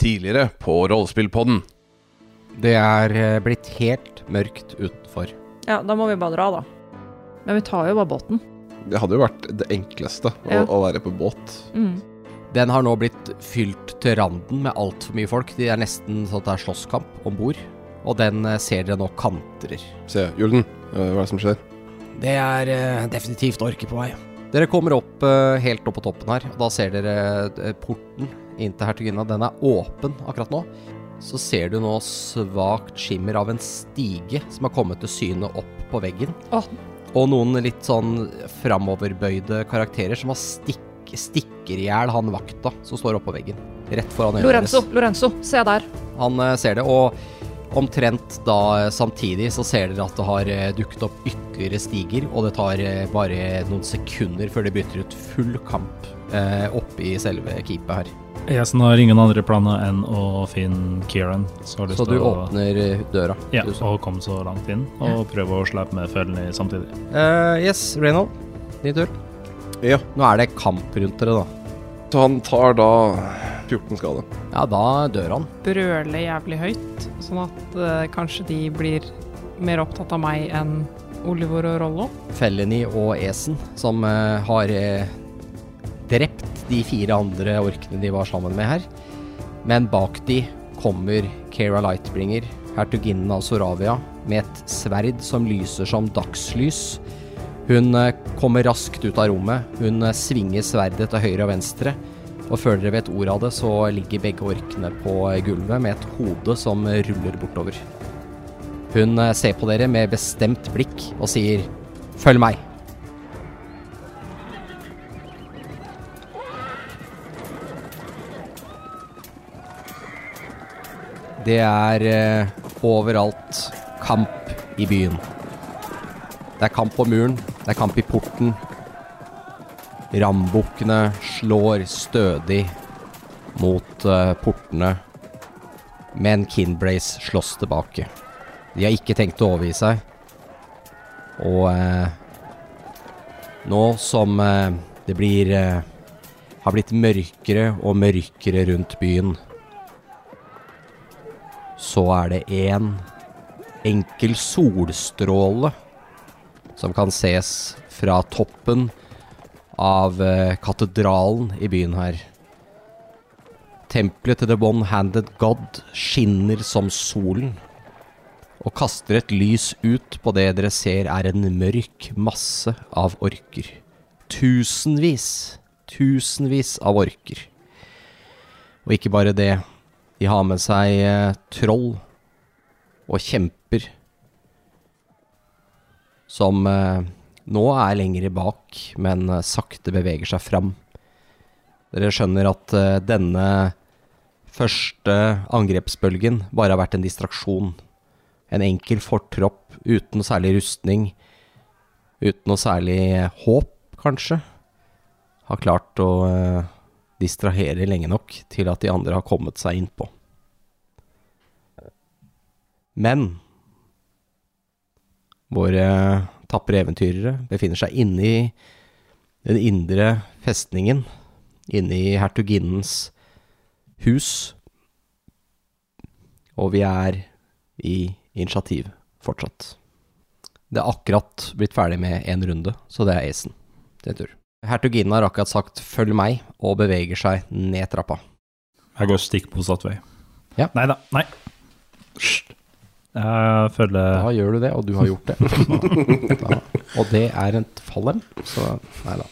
tidligere på Rollespillpodden. Det er eh, blitt helt mørkt utenfor. Ja, da må vi bare dra, da. Men vi tar jo bare båten. Det hadde jo vært det enkleste Ja. å, å være på båt. Mm. Den har nå blitt fylt til randen med altfor mye folk. Det er nesten sånn at det er slåsskamp om bord. Og den eh, ser dere nå kantrer. Se, Julden, eh, hva er det som skjer? Det er eh, definitivt orke på vei. Dere kommer opp eh, helt opp på toppen her, og da ser dere eh, porten inn til hertuginna. Den er åpen akkurat nå. Så ser du nå svakt skimmer av en stige som har kommet til syne opp på veggen. Å. Og noen litt sånn framoverbøyde karakterer som har stikk, stikker i hjel han vakta som står oppå veggen. Rett foran øynene Lorenzo, Lorenzo, se der. han eh, ser det, og omtrent da eh, samtidig så ser dere at det har eh, dukket opp ytterligere stiger, og det tar eh, bare noen sekunder før det bytter ut full kamp eh, oppe i selve keepet her. Jeg som har ingen andre planer enn å finne Kieran. Så, har jeg lyst Så du til å, åpner eh, døra. Ja, du sa. og komme så langt inn, og prøve å slippe med følgene samtidig. Eh, yes, Reynold, din tur. Ja, Nå er det kamp rundt dere, da. så han tar da 14 skade. Ja, da dør han. brøle jævlig høyt, sånn at eh, kanskje de blir mer opptatt av meg enn Oliver og Rollo. Felony og Esen, som eh, har eh, drept de fire andre orkene de var sammen med her. Men bak de kommer Keira Lightbringer, hertuginnen av Soravia, med et sverd som lyser som dagslys. Hun eh, kommer raskt ut av rommet. Hun eh, svinger sverdet til høyre og venstre. Og før dere vet ordet av det, så ligger begge orkene på eh, gulvet med et hode som eh, ruller bortover. Hun eh, ser på dere med bestemt blikk og sier 'følg meg'. Det er eh, overalt kamp i byen. Det er kamp på muren, det er kamp i porten. Rambukkene slår stødig mot eh, portene, men Kinbrace slåss tilbake. De har ikke tenkt å overgi seg. Og eh, nå som eh, det blir eh, har blitt mørkere og mørkere rundt byen, så er det én enkel solstråle som kan ses fra toppen av eh, katedralen i byen her. Tempelet til The One-Handed God skinner som solen og kaster et lys ut på det dere ser er en mørk masse av orker. Tusenvis, tusenvis av orker. Og ikke bare det, de har med seg eh, troll og kjemper som eh, nå er lengre bak, men eh, sakte beveger seg fram. Dere skjønner at eh, denne første angrepsbølgen bare har vært en distraksjon. En enkel fortropp uten noe særlig rustning, uten noe særlig håp, kanskje, har klart å eh, distrahere lenge nok til at de andre har kommet seg innpå. Men våre tapre eventyrere befinner seg inne i den indre festningen, inne i hertuginnens hus, og vi er i initiativ fortsatt. Det er akkurat blitt ferdig med én runde, så det er acen sin tur. Hertuginnen har akkurat sagt 'følg meg' og beveger seg ned trappa. Jeg går stikk motsatt vei. Ja. Nei da, nei. Hysj. Jeg følger Da gjør du det, og du har gjort det. Da, og det er en fallem, så nei da.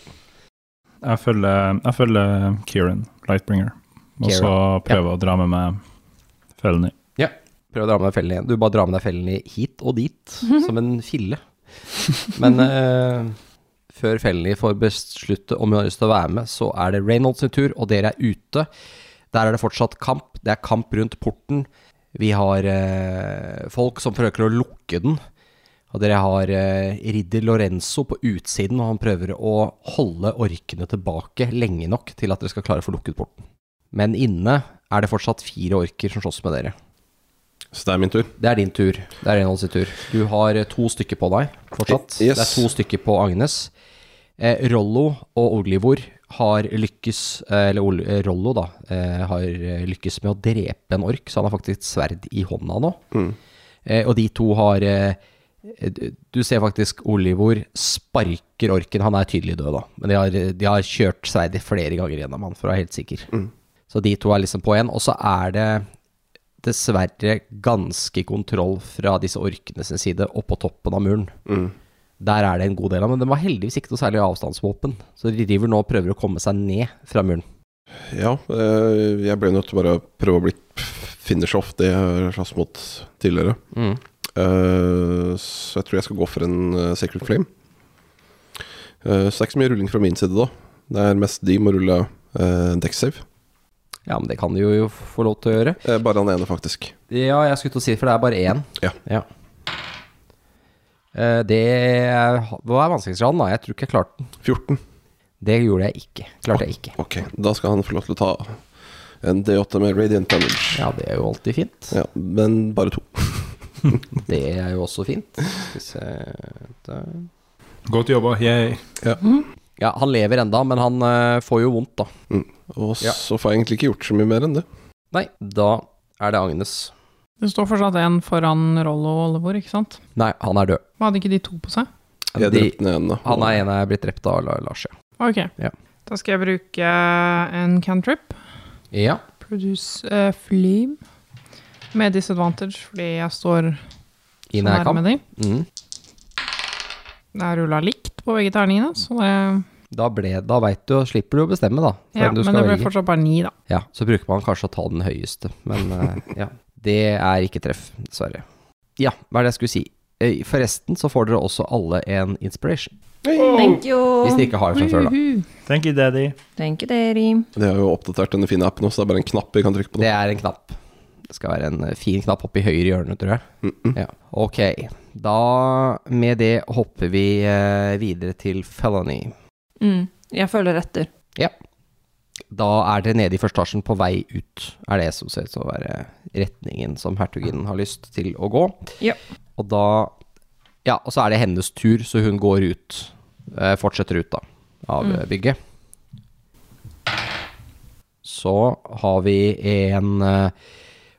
Jeg følger, jeg følger Kieran, Lightbringer. Og så prøver jeg å dra med meg følgene. Prøv å dra med deg fellen igjen. Du bare drar med deg fellen i hit og dit, som en fille. Men eh, før fellen får beslutte om hun har lyst til å være med, så er det Reynolds sin tur, og dere er ute. Der er det fortsatt kamp. Det er kamp rundt porten. Vi har eh, folk som prøver å lukke den. Og dere har eh, ridder Lorenzo på utsiden, og han prøver å holde orkene tilbake lenge nok til at dere skal klare å få lukket porten. Men inne er det fortsatt fire orker som slåss med dere. Så det er min tur. Det er din tur. Det er Reynolds sin tur. Du har eh, to stykker på deg fortsatt. Yes. Det er to stykker på Agnes. Eh, Rollo og Olivor har lykkes, eh, eller Ol- eh, Rollo da, eh, har eh, lykkes med å drepe en ork, så han har faktisk et sverd i hånda nå. Mm. Eh, og de to har eh, eh, Du ser faktisk Olivor sparker orken. Han er tydelig død, da. Men de har, de har kjørt sverdet flere ganger gjennom han, for å være helt sikker. Så de to er liksom på én. Og så er det dessverre ganske kontroll fra disse orkene sin side oppå toppen av muren. Mm. Der er det en god del av, men den var heldigvis ikke noe særlig avstandsvåpen. Så de driver nå og prøver å komme seg ned fra muren. Ja, eh, jeg ble nødt til bare å prøve å bli finish off det jeg har slåss mot tidligere. Eh, så jeg tror jeg skal gå for en eh, Sacred Flame. Eh, så det er ikke så mye rulling fra min side da. Det er mest de må rulle uh, deck save. Ja, men det kan de jo få lov til å gjøre. Eh, bare han ene, faktisk. Ja, jeg skulle til å si, for det er bare én. Ja. Eh, Det er, hva er vanskelighetsgraden, da? Jeg tror ikke jeg klarte den. 14. Det gjorde jeg ikke. Klarte jeg ikke. Ok, da skal han få lov til å ta en D8 med radiant damage. Ja, det er jo alltid fint. Ja, men bare to. Det er jo også fint. Skal vi se der. Godt jobba. Yay. Ja, han lever enda, men han eh, får jo vondt, da. Og Ja. så får jeg egentlig ikke gjort så mye mer enn det. Nei, da er det Agnes. Det står fortsatt en foran Rollo og Olivor, ikke sant? Nei, han er død. Men hadde ikke de to på seg? Jeg De, drepte den ene. han er en jeg er blitt drept av, La- Lars, ja. Ok. Ja. Da skal jeg bruke en cantrip. Ja, Produce eh, flame. Med disadvantage, fordi jeg står i så nærme nærkamp. dem. Mm. Det er rulla likt på begge terningene, så det Da, ble- da veit du, og slipper du å bestemme, da. Ja, hvem du men skal det ble velge. fortsatt bare ni, da. Ja, så bruker man kanskje å ta den høyeste, men eh, ja. Det er ikke treff, dessverre. Ja, hva er det jeg skulle si? Eh, Forresten så får dere også alle en inspiration. Thank you. Hvis dere ikke har det fra før, da. Uhu. Thank you, daddy. Thank you, dere. De har jo oppdatert denne fine appen også, det er bare en knapp vi kan trykke på. nå. Det er en knapp. Det skal være en eh, fin knapp oppe i høyre hjørne, tror jeg. Mm, Ja. Ok, da med det hopper vi eh, videre til felony. Mm. Jeg følger etter. Da er dere nede i første etasjen på vei ut, er det som ser ut til å være retningen som hertuginnen har lyst til å gå. Ja. Og da Ja, og så er det hennes tur, så hun går ut. eh, Fortsetter ut, da, av eh, bygget. Så har vi en eh,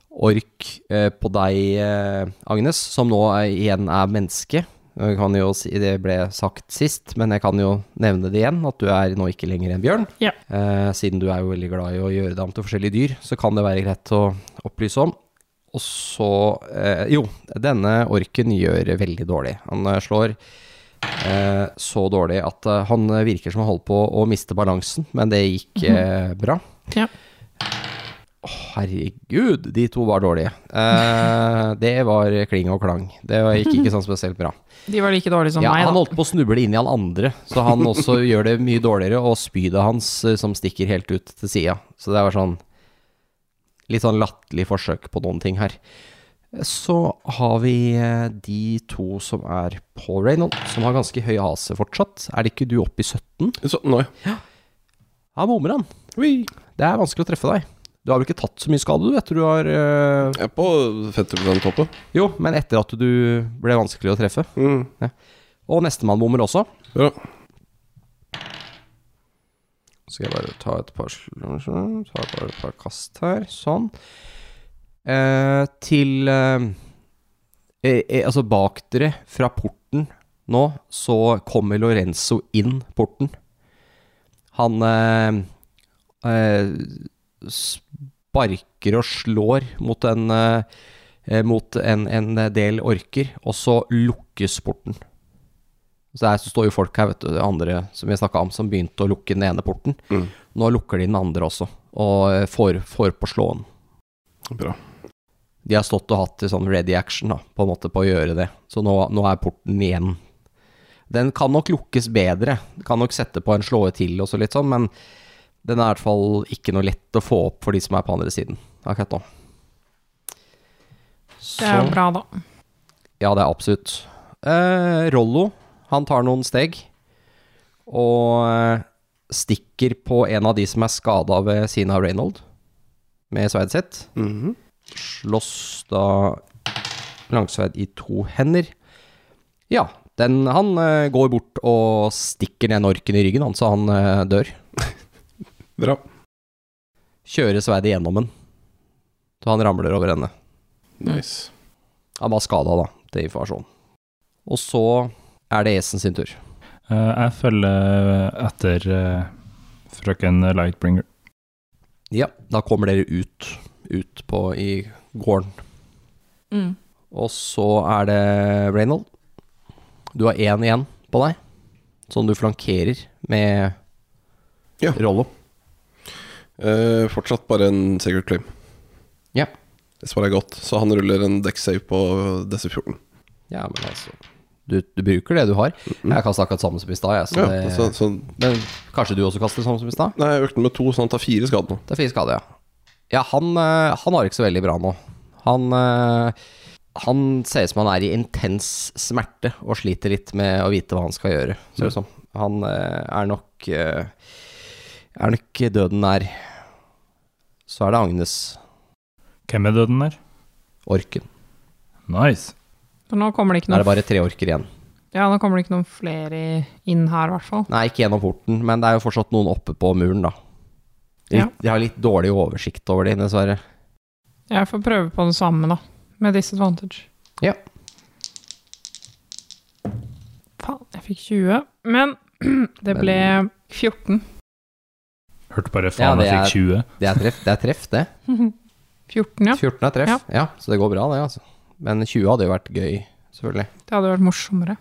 ork eh, på deg, eh, Agnes, som nå er, igjen er menneske. Jeg kan jo si, det ble sagt sist, men jeg kan jo nevne det igjen, at du er nå ikke lenger en bjørn. Ja. Eh, siden du er jo veldig glad i å gjøre deg om til forskjellige dyr, så kan det være greit å opplyse om. Og så eh, Jo, denne orken gjør veldig dårlig. Han eh, slår eh, så dårlig at eh, han virker som han holder på å miste balansen, men det gikk eh, bra. Ja. Herregud, de to var dårlige. Eh, det var kling og klang. Det var- gikk ikke sånn spesielt bra. De var like dårlige som Ja, meg, han da. holdt på å snuble inn i han andre, så han også gjør det mye dårligere, og spydet hans eh, som stikker helt ut til sida. Så det var sånn Litt sånn latterlig forsøk på noen ting her. Så har vi eh, de to som er på Reynold, som har ganske høy AC fortsatt. Er det ikke du oppe i 17? Så, nå ja. Han bommer, han. Ui. Det er vanskelig å treffe deg. Du har vel ikke tatt så mye skade, du, etter du har eh, Jeg er på 50 toppe. Jo, men etter at du ble vanskelig å treffe. Mm. Og nestemann bommer også. Bra. Så skal jeg bare ta et par, sl- ta bare et par kast her. Sånn. Eh, til eh, eh, eh, Altså, bak dere, fra porten nå, så kommer Lorenzo inn porten. Han eh, eh, sparker og slår mot en eh, eh, mot en, en del orker, og så lukkes porten. Så der så står jo folk her, vet du, det andre som vi snakka om, som begynte å lukke den ene porten. Mm. Nå lukker de den andre også, og eh, får, får på slåen. Bra. De har stått og hatt sånn ready action da, på en måte på å gjøre det. Så nå, nå er porten igjen. Den kan nok lukkes bedre. Kan nok sette på en slåe til og så litt sånn, men den er i hvert fall ikke noe lett å få opp for de som er på andre siden akkurat nå. Det er Så- bra, da. ja, det er absolutt. Eh, Rollo, han tar noen steg og eh, stikker på en av de som er skada ved siden av Reynold med sverdet sitt. Mhm. Slåss da langsverd i to hender. Ja, den, han eh, går bort og stikker ned en orken i ryggen, han, så han eh, dør. Bra. Kjører sverdet gjennom den, så han ramler over ende. Nice. Han var skada, da, til informasjon. Og så er det Esen sin tur. Eh, jeg følger etter eh, frøken Lightbringer. Ja, da kommer dere ut, ut på i gården. Mm. Og så er det Reynold. Du har én igjen på deg, som du flankerer med Ja. Rollo. Eh, fortsatt bare en secret claim. Ja. Det svarer jeg godt. Så han ruller en deck save på DC14. Ja, men altså Du, du bruker det du har. Jeg kasta akkurat samme som i stad, jeg. Så Ja, det, så, så, Men kanskje du også kaster samme som i stad? nei, jeg økte den med to, så han tar fire skader nå. Det er fire skader, ja. Ja, han, eh, han har det ikke så veldig bra nå. Han, eh, han ser ut som han er i intens smerte og sliter litt med å vite hva han skal gjøre. Ser det ut som. Han eh, er nok eh, Er nok døden nær. Så er det Agnes Hvem er døden der? Orken. Nice. For nå kommer det ikke Da er det noen, bare tre orker igjen. ja, nå kommer det ikke noen flere inn her, i hvert fall. Nei, ikke gjennom porten, men det er jo fortsatt noen oppe på muren, da. De, Ja. de har litt dårlig oversikt over det, dessverre. Jeg får prøve på den samme, da. Med disadvantage. Ja. Faen, jeg fikk 20. Men det Men- ble 14. Hørte bare Ja, faen det jeg fikk 20. Det er treff, det. Er treff, det. 14, ja. 14 er treff, ja. Ja. Så det går bra, det, altså. Men 20 hadde jo vært gøy, selvfølgelig. Det hadde vært morsommere.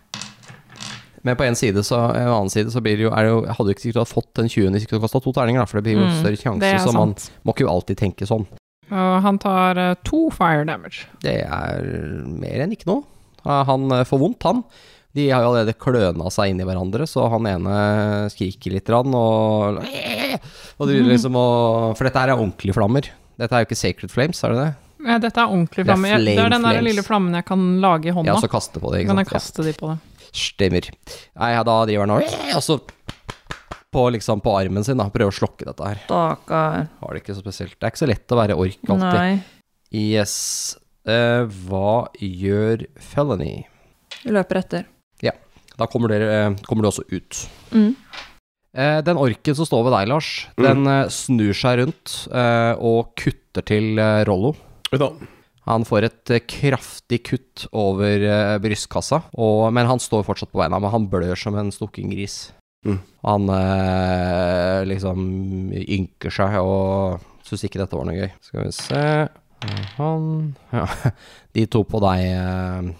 Men på en side så, en annen side så blir det jo, er det jo Hadde du ikke sikkert fått den 20 hvis ikke du kasta to terninger, da, for det blir jo Mm, større Det sjanse, er så man sant. må ikke jo alltid tenke sånn. Og han tar eh, to fire damage. Det er mer enn ikke noe. Ah, Han eh, får vondt, han. De har jo allerede kløna seg inn i hverandre, så han ene skriker litt grann, og Og driver Mm. liksom og For dette her er ordentlige flammer. Dette er jo ikke Sacred Flames, er det det? Eh, Dette er ordentlig Det er flamme. Jeg- Det er, flame den der flames. lille flammen jeg kan lage i Ja, hånda. så kaste på det, ikke kan jeg sant. Ja. kaste de på det. Stemmer. Nei, ja, da driver han og og så på, liksom, på armen sin, da. Prøver å slokke dette her. Stakkar. Har det ikke så spesielt. Det er ikke så lett å være ork alltid. Nei. Yes. Eh, hva gjør Felony? Vi løper etter. Da kommer, dere, eh, kommer du også ut. Mm. Eh, den orken som står ved deg, Lars, den eh, snur seg rundt eh, og kutter til eh, Rollo. Oi da. Han får et eh, kraftig kutt over eh, brystkassa, og, men han står fortsatt på beina. Men han blør som en stukken gris. Mm. Han eh, liksom ynker seg og syns ikke dette var noe gøy. Skal vi se Han Ja. De to på deg, eh,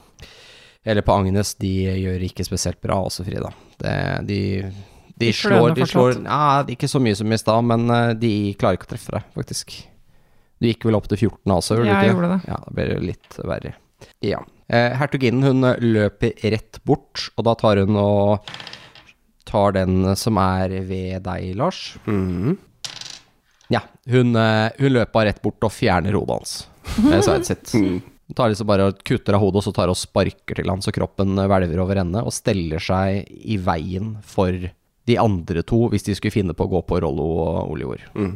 eller på Agnes, de gjør ikke spesielt bra også, Frida. Det, de de De slår, kløner de slår fortsatt. ja, Ikke så mye som i stad, men eh, de klarer ikke å treffe deg, faktisk. Du gikk vel opp til 14 altså? gjorde du ikke Jeg det? gjorde det. Ja, da blir det jo litt verre. Ja. Eh, hertuginnen hun eh, løper rett bort, og da tar hun og tar den eh, som er ved deg, Lars. Mhm. Ja, hun, eh, hun løper rett bort og fjerner hodet hans eh, med sverdet sitt. Mm. Hun tar liksom bare og kutter av hodet, og så tar hun og sparker til han, så kroppen eh, hvelver over ende, og steller seg i veien for de andre to, hvis de skulle finne på å gå på Rollo og Oliver. Mm.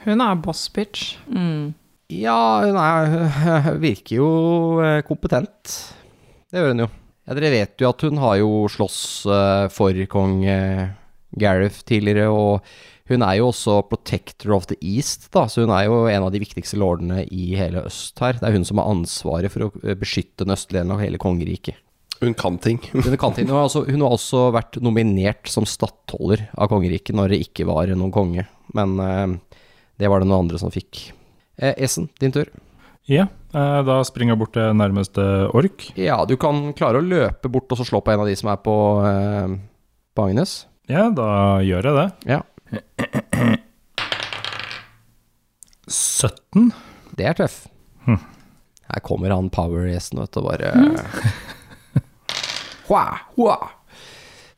Hun er boss bitch. Mm. Ja, hun er, virker jo eh, kompetent. Det gjør hun jo. Ja, dere vet jo at hun har jo slåss eh, for kong eh, Gareth tidligere, og hun er jo også protector of the east, da, så hun er jo en av de viktigste lordene i hele øst her. Det er hun som har ansvaret for å eh, beskytte den østlige delen av hele kongeriket. Hun kan ting. Hun kan ting. Hun har, også, hun har også vært nominert som stattholder av kongeriket når det ikke var noen konge, men eh, det var det noen andre som fikk. Eh, Essen, din tur. Ja, eh, da springer jeg bort til nærmeste ork. Ja, du kan klare å løpe bort og så slå på en av de som er på, eh, på Agnes. Ja, da gjør jeg det. Ja. 17. Det er tøff. Hm. Her kommer han power-gjesten vet du, og bare hua, hua.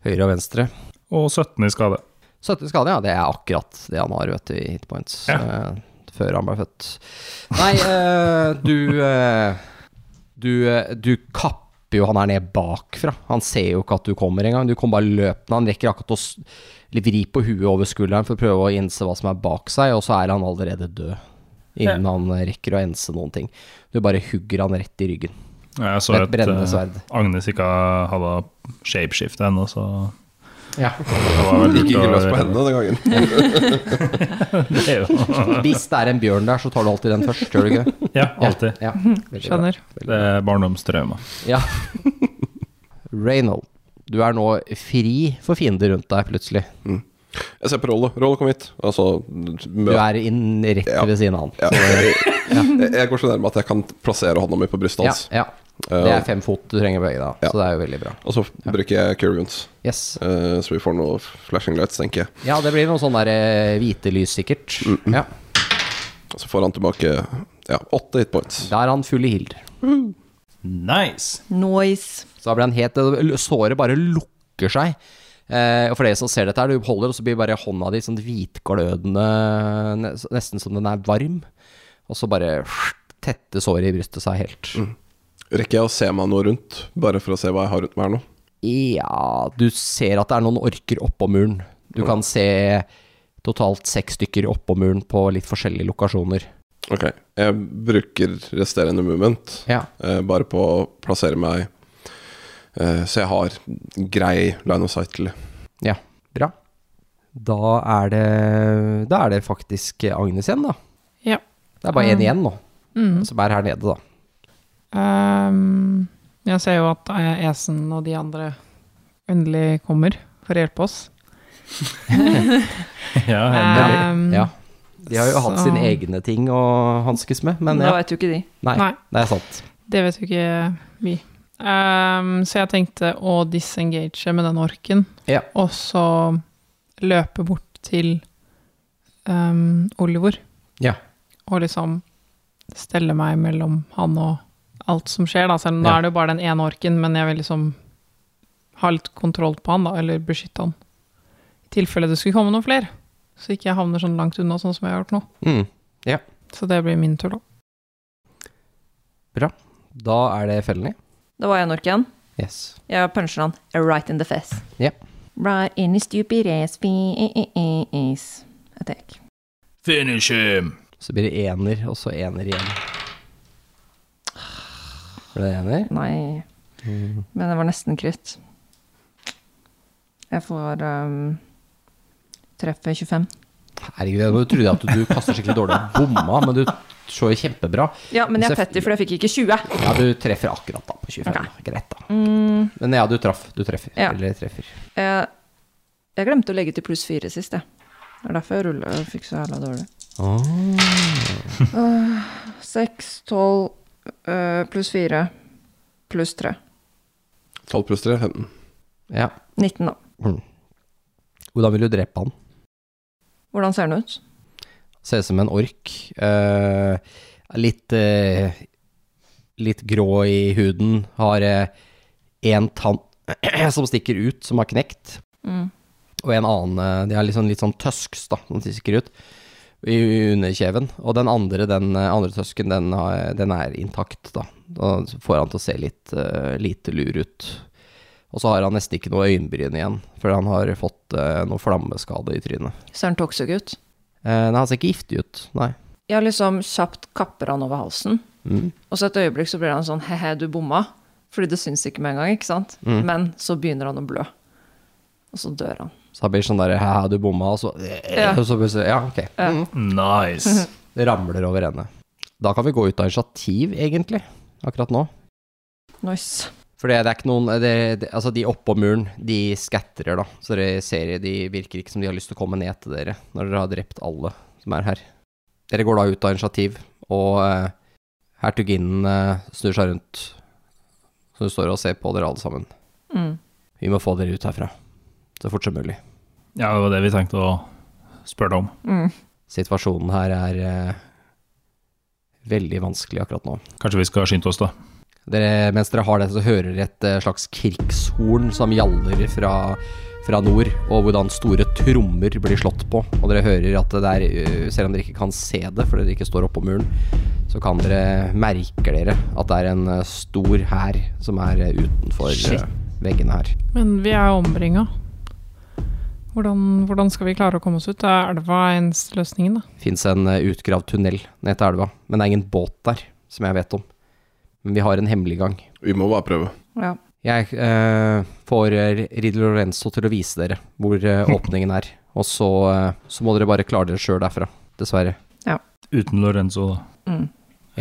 Høyre og venstre. Og 17 i skade. 17 skade, ja. Det er akkurat det han har vet du, i hitpoints. eh, før han ble født. Nei, eh, du eh, du, eh, du kapper jo han her ned bakfra. Han ser jo ikke at du kommer engang. Du kommer bare løpende. Han rekker akkurat å s- litt vri på huet over skulderen for å prøve å innse hva som er bak seg, og så er han allerede død. Innen han rekker å ense noen ting. Du bare hugger han rett i ryggen. Jeg så Med et at brennende eh, sverd. Agnes ikke hadde shapeshiftet ennå, så Ja. Det var vel Gikk ikke løs på lurt å- hendene den gangen. Det er jo- Hvis det er en bjørn der, så tar du alltid den først, gjør du ikke? Ja, alltid. Ja. Veldig bra. Skjønner. Det er barndomstrauma. Ja. Reynold, du er nå fri for fiender rundt deg, plutselig. Jeg ser på Rollo. Rollo, kom hit. Altså, Du møt er inn rett Ja. ved siden av han. ja. jeg, jeg går så nærme at jeg kan plassere hånda mi på brystet Ja, hans. ja. Det er fem fot du trenger å bøye deg, Ja. så det er jo veldig bra. Og så bruker jeg Curions, Yes. så vi får noe flashing lights, tenker jeg. Ja, det blir noe sånn der eh, hvite lys, sikkert. Ja. Og så får han tilbake ja, åtte hit points. Da er han full i hild. Nice! Noise. Så da blir han helt eh, Såret bare lukker seg. Eh, og for dere som ser dette, her, du holder, og så blir bare hånda di sånn hvitglødende, ne- nesten som den er varm. Og så bare tette såret i brystet seg helt. Mm. Rekker jeg å se meg noe rundt, bare for å se hva jeg har rundt meg her nå? Ja, du ser at det er noen orker oppå muren. Du kan se totalt seks stykker oppå muren på litt forskjellige lokasjoner. Ok, jeg bruker resterende movement, Ja. eh, bare på å plassere meg eh, så jeg har grei line of sight til det. Ja, bra. Da er det Da er det faktisk Agnes igjen, da. Ja. Det er bare én Mm. igjen nå, Mm. som er her nede, da. Ehm, jeg ser jo at eh, Esen og de andre endelig kommer for å hjelpe oss. Ja, Ah. endelig. Ehm, Ja. De har jo hatt Så- sine egne ting å hanskes med, men Men ja, det vet jo ikke de. nei, Nei, det er sant. det vet jo ikke vi. Ehm, så jeg tenkte å disengage med den orken, Ja. og så løpe bort til ehm, Oliver. Ja. Og liksom stelle meg mellom han og alt som skjer, da. Selv om da Ja. er det jo bare den ene orken, men jeg vil liksom ha litt kontroll på han, da, eller beskytte han. I tilfelle det skulle komme noen flere, så ikke jeg havner sånn langt unna, sånn som jeg har gjort nå. Mm. Så det blir min tur, da. Da er det fellene. Det var en ork igjen. Yes. Jeg puncher han right in the face. Ja. Right in the stupid ass face. Attack. Finish him! Så blir det ener, og så ener igjen. Ble det ener? Nei, Mm. men det var nesten krytt. Jeg får um, treffe 25. Herregud, jeg trodde jeg at du kaster skikkelig dårlig og bomma, men du så jo kjempebra. Ja, men jeg er Så- petty, for jeg fikk ikke 20. Ja, du treffer akkurat da, på 25. Da. Greit, da. Mm, Men ja, du traff. Du treffer. Ja. Eller treffer. jeg, Eh, jeg glemte å legge til pluss 4 sist, jeg. Det er derfor jeg rulla og fikk så jævla dårlig. Øh, 6, 12 øh, pluss 4 pluss 3. 12 pluss 3, 15. Ja. 19, da. Hvordan vil du drepe han? Hvordan ser den ut? Ser ut som en ork. Eh, litt eh, Litt grå i huden. Har én tann som stikker ut, som har knekt. Mm. og en annen eh, De har litt sånn, litt sånn tøsks, da, som stikker ut i underkjeven. Og den andre, den eh, andre tøsken, den, har- den er intakt, da. Da får han til å se litt eh, lite lur ut. Og så har han nesten ikke noe øyenbryn igjen, for han har fått eh, noe flammeskade i trynet. Ser den toxic ut? Eh, nei, han ser ikke giftig ut, nei. Jeg liksom kjapt kapper han over halsen, Mm. og så et øyeblikk så blir han sånn he-he, du bomma. Fordi det syns ikke med en gang, ikke sant? Mm. Men så begynner han å blø. Og så dør han. Så han blir sånn derre Hæ, du bomma, og så eh, Ja. og så plutselig Ja, ok. Mm. Nice! Det ramler over ende. Da kan vi gå ut av initiativ, egentlig, akkurat nå. Nice. For det det er ikke noen det, det, Altså, de oppå muren, de skatterer, da. Så dere ser de virker ikke som de har lyst til å komme ned til dere når dere har drept alle som er her. Dere går da ut av initiativ, og eh, hertuginnen eh, snur seg rundt. Så hun står og ser på dere alle sammen. Mm. Vi må få dere ut herfra. Så fort som mulig. Ja, det var det vi tenkte å spørre deg om. Mm. Situasjonen her er eh, veldig vanskelig akkurat nå. Kanskje vi skal skynde oss, da. Dere, mens dere har det, så hører dere et eh, slags krigshorn som gjaller fra, fra nord, og hvordan store trommer blir slått på. Og dere hører at det der, eh, selv om dere ikke kan se det fordi dere ikke står oppå muren, så kan dere merker dere at det er en eh, stor hær som er eh, utenfor eh, Shit. veggene her. Men vi er omringa. Hvordan, hvordan skal vi klare å komme oss ut? Er elva eneste løsningen, da? Fins en eh, utgravd tunnel ned til elva, men det er ingen båt der, som jeg vet om. Men vi har en hemmelig gang. Vi må bare prøve. Ja. Jeg eh, får Rid Lorenzo til å vise dere hvor eh, åpningen er. Og så, eh, så må dere bare klare dere sjøl derfra, dessverre. Uten Lorenzo, da. Mm,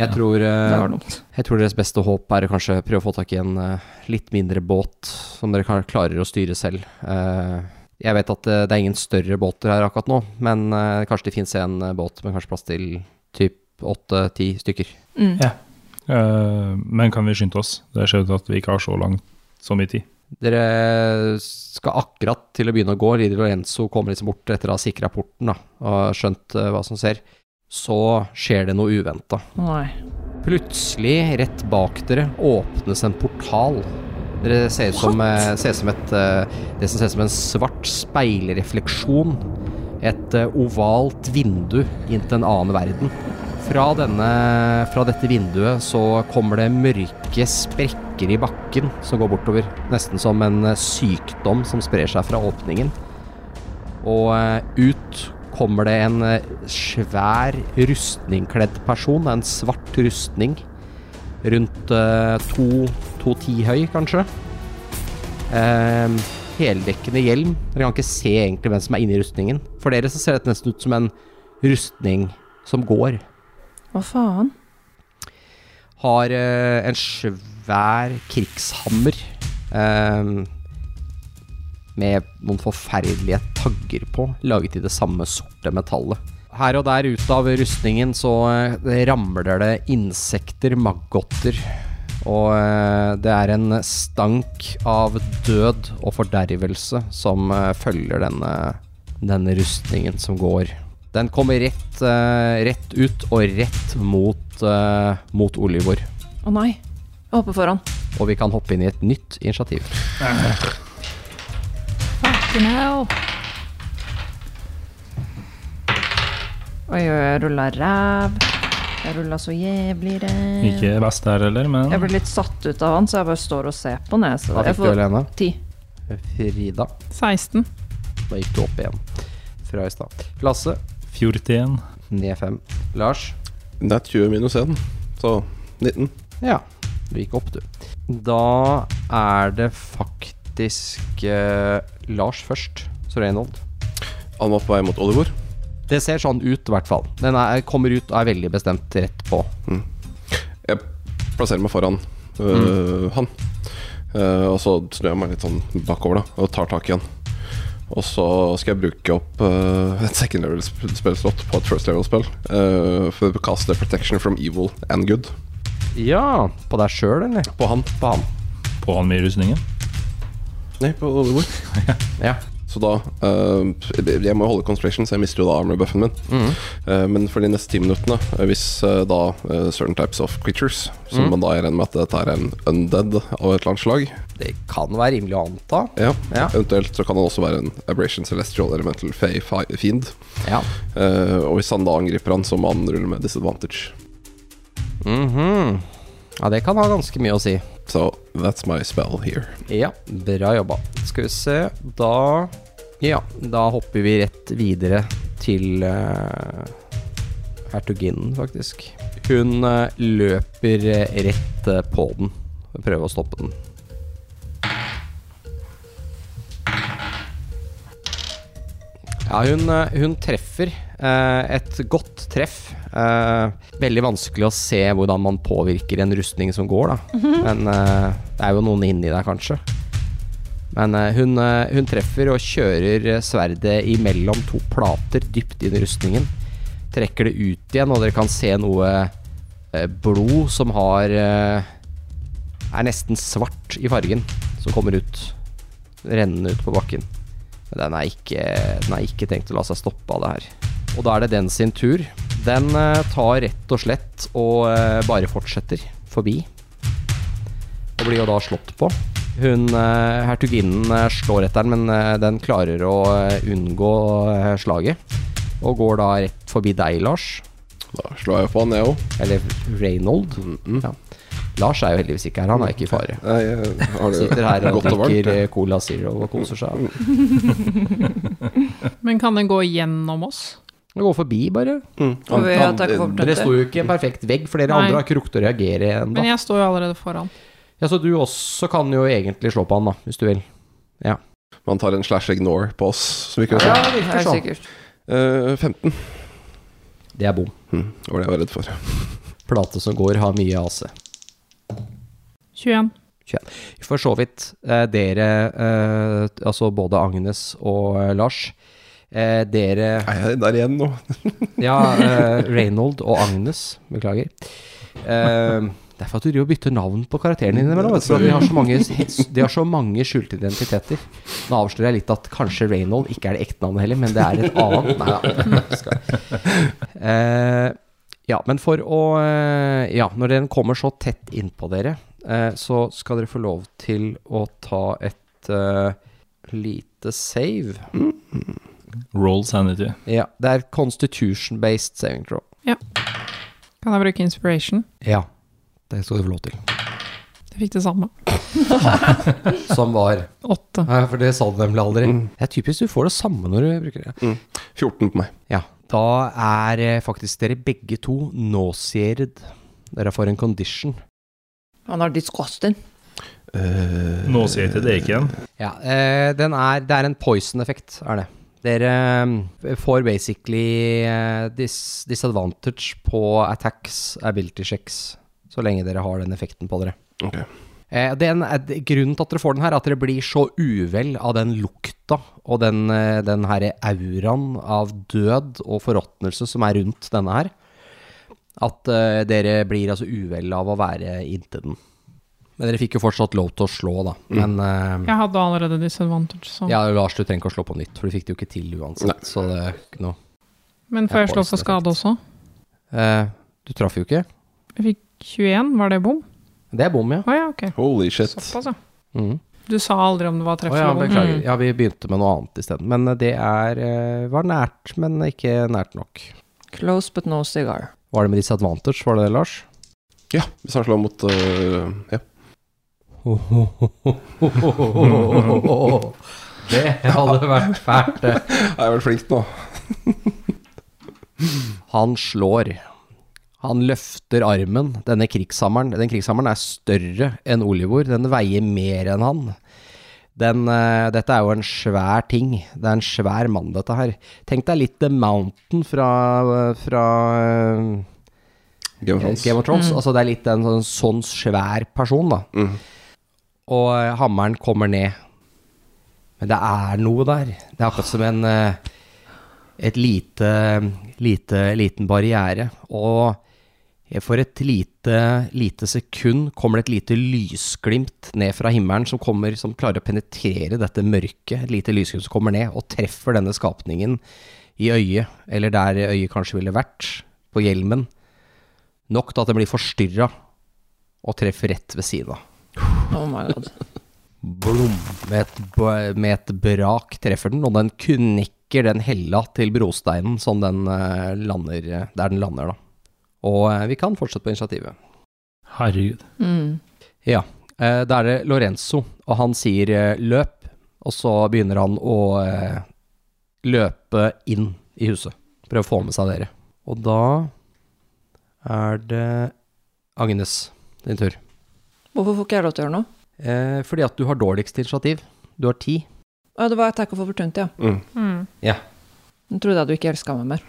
Jeg tror, det eh, var dumt. jeg tror deres beste håp er å kanskje prøve å få tak i en eh, litt mindre båt som dere kan, klarer å styre selv. Eh, jeg vet at eh, det er ingen større båter her akkurat nå, men eh, kanskje det fins en eh, båt med kanskje plass til typ åtte-ti stykker. Mm. Eh, men kan vi skynde oss? Det ser ut til at vi ikke har så langt så mye tid. Dere skal akkurat til å begynne å gå. Lider Lorenzo kommer liksom bort etter å ha sikra porten da, og har skjønt eh, hva som skjer. Så skjer det noe uventa. Nei. Plutselig, rett bak dere, åpnes en portal. Dere ser ut som, eh, ser ut som et, eh, det som ser ut som en svart speilrefleksjon. Et eh, ovalt vindu inn til en annen verden. Fra, denne, fra dette vinduet så kommer det mørke sprekker i bakken som går bortover. Nesten som en eh, sykdom som sprer seg fra åpningen. Og eh, ut kommer det en eh, svær rustningkledd person. En svart rustning. Rundt eh, to, to ti høy, kanskje. Eh, heldekkende hjelm. Dere kan ikke se egentlig hvem som er inni rustningen. For dere så ser dette nesten ut som en rustning som går. Hva faen? Har eh, en svær krigshammer. eh, med noen forferdelige tagger på, laget i det samme sorte metallet. Her og der ut av rustningen så eh, ramler det insekter, maggotter, og eh, det er en stank av død og fordervelse som eh, følger denne, denne rustningen som går. Den kommer rett, eh, rett ut og rett mot, eh, mot Olivor, Å nei. Jeg hopper foran. og vi kan hoppe inn i et nytt initiativ. Fucking hell. Oi, oi, jeg rulla ræv. Jeg rulla så jævlig ræv. Ikke best der heller, men Jeg ble litt satt ut av han, så jeg bare står og ser på han. jeg. Så Da Jeg fikk du får Helene. ti. Frida. 16. Da gikk du opp igjen fra i stad. Lasse, 41. ned fem. Lars? Det er 20 minus 1, så 19. Ja, du gikk opp, du. Da er det faktisk eh, Lars først, så Reynold. Han var på vei mot Oliver. Det ser sånn ut, i hvert fall. Den er, kommer ut og er veldig bestemt rett på. Jeg plasserer meg foran øh, han. Eh, og så snur jeg meg litt sånn bakover da og tar tak i han. Og så skal jeg bruke opp øh, et second level sp- spillslott på et first level spill. eh, for å kaste protection from evil and good Ja, på deg sjøl, eller? på han. På han. På han med i rustningen. Nei, på Oliver. Ja. Så da eh, Jeg må jo holde concentration, så jeg mister jo da armor-buffen min. Eh, men for de neste ti minuttene, eh, hvis eh, da eh, certain types of creatures Som man da regner med at dette er en undead av et eller annet slag Det kan være rimelig å anta. ja. Ja. Eventuelt så kan han også være en aberration celestial elemental fey fi- fiend. Ja. Eh, og hvis han da angriper han, så må han rulle med disadvantage. Mhm. ja, det kan ha ganske mye å si. So that's my spell here. Ja, bra jobba. Skal vi se, da Ja, da hopper vi rett videre til eh, hertuginnen, faktisk. Hun eh, løper eh, rett eh, på den og prøver å stoppe den. Ja, hun, eh, hun treffer. eh, et godt treff. Eh, veldig vanskelig å se hvordan man påvirker en rustning som går, da. Men eh, det er jo noen inni der, kanskje. Men eh, hun, eh, hun treffer og kjører eh, sverdet imellom to plater dypt inn i rustningen. Trekker det ut igjen, og dere kan se noe eh, blod som har eh, Er nesten svart i fargen, som kommer ut. Rennende ut på bakken. Men den er ikke, den er ikke tenkt å la seg stoppe av det her. Og da er det den sin tur. Den eh, tar rett og slett og eh, bare fortsetter forbi. Og blir jo da slått på. Hun, eh, Hertuginnen eh, slår etter den, men eh, den klarer å eh, unngå eh, slaget. Og går da rett forbi deg, Lars. Da slår jeg på han, jeg òg. Eller Reynold. ja. Lars er jo heldigvis ikke her, han er ikke i fare. Jeg har det Sitter her og godt og varmt. Mm. drikker jeg. eh, Cola Zero og koser seg. Men kan den gå gjennom oss? Han går forbi, bare. Mm. Og vi han- attacker for Dere oppretter. sto jo ikke i en perfekt vegg, for dere Nei. andre har ikke rukket å reagere ennå. Men jeg står jo allerede foran. Ja, så du også kan jo egentlig slå på han, da, hvis du vil. Man tar en slash ignore på oss, som vi kan Ja, se. det virker Helt sånn. sikkert. Eh, 15 Det er bom. hm, var det jeg var redd for. Plate som går, har mye AC. 21. For så vidt, eh, dere, eh, altså både Agnes og eh, Lars eh, Dere Er jeg der igjen nå? Ja, eh, Reynold og Agnes. Beklager. Eh, det er for at du driver og bytter navn på karakterene innimellom. vet du, for at De har så mange, de har så mange skjulte identiteter. Nå avslører jeg litt at kanskje Reynold ikke er det ekte navnet heller, men det er et annet. Nei, ja. Skal. Eh, ja, men for å eh, Ja, når den kommer så tett innpå dere, eh, så skal dere få lov til å ta et eh, lite save. Roll sanity. Ja, det er constitution-based saving throw. Kan jeg bruke inspiration? Ja, det skal du få lov til. Jeg fikk det samme. Som var Åtte. Nei, for det sa du nemlig aldri. Mm. Det er typisk du får det samme når du bruker det. 14 Mm. på meg. Ja, da er eh, faktisk dere begge to nauseated. Dere får en condition. Han har disgusting. Uh, Nauseated er ikke en. Ja, eh, den er, det er en poison-effekt, er det. Dere eh, får basically eh, dis disadvantage på attacks, ability checks, så lenge dere har den effekten på dere. Ok. Eh, den, eh, d- grunnen til at dere får den her, er at dere blir så uvel av den lukta og den, eh, den her auraen av død og forråtnelse som er rundt denne her, at eh, dere blir altså uvel av å være inntil den. Men dere fikk jo fortsatt lov til å slå, da. Men eh, Jeg hadde allerede disadvantage, så ja, Lars, du trenger ikke å slå på nytt, for du fikk det jo ikke til uansett. Så det er ikke noe Men får Jeg jeg slå poison for skade også? Eh, Du traff jo ikke. Jeg fikk 21, var det bom? Det er bom, ja. Å ja, ok. Holy shit. Såpass, ja. Mm. Du sa aldri om det var treff Å ja, eller bom. Mm. beklager. Ja, vi begynte med noe annet isteden. Men eh, det er, eh, var nært, men ikke nært nok. Close but no cigar. Var det med disadvantage, var det det, Lars? Ja, hvis han slår mot eh, Ja. Det hadde vært fælt, det. Jeg er vel flink nå. Han slår. Han løfter armen, denne krigshammeren. Den krigshammeren er større enn Olivor. Den veier mer enn han. Den, eh, dette er jo en svær ting. Det er en svær mann, dette her. Tenk deg litt The Mountain fra, fra eh, Game of Thrones. Game of Thrones. Altså det er litt en sånn, sånn svær person, da. Mhm. Og eh, hammeren kommer ned. Men det er noe der. Det er akkurat som en eh, et lite, lite, liten barriere. Og for et lite, lite sekund kommer det et lite lysglimt ned fra himmelen som, kommer, som klarer å penetrere dette mørket. Et lite lysglimt som kommer ned og treffer denne skapningen i øyet, eller der øyet kanskje ville vært, på hjelmen. Nok til at den blir forstyrra og treffer rett ved siden av. Oh my god. Blom! Med et, b- med et brak treffer den, og den knekker den hella til brosteinen som den eh, lander eh, der den lander, da. Og eh, vi kan fortsette på initiativet. Herregud. Mm. Eh, Da er det Lorenzo, og han sier eh, 'løp', og så begynner han å eh, løpe inn i huset. Prøve å få med seg dere. Og da er det Agnes din tur. Hvorfor får ikke jeg lov til å gjøre noe? Eh, fordi at du har dårligst initiativ. Du har ti. Å, det var attack of opportunity, ja. Mm. Mm. Nå trodde jeg du ikke elska meg mer.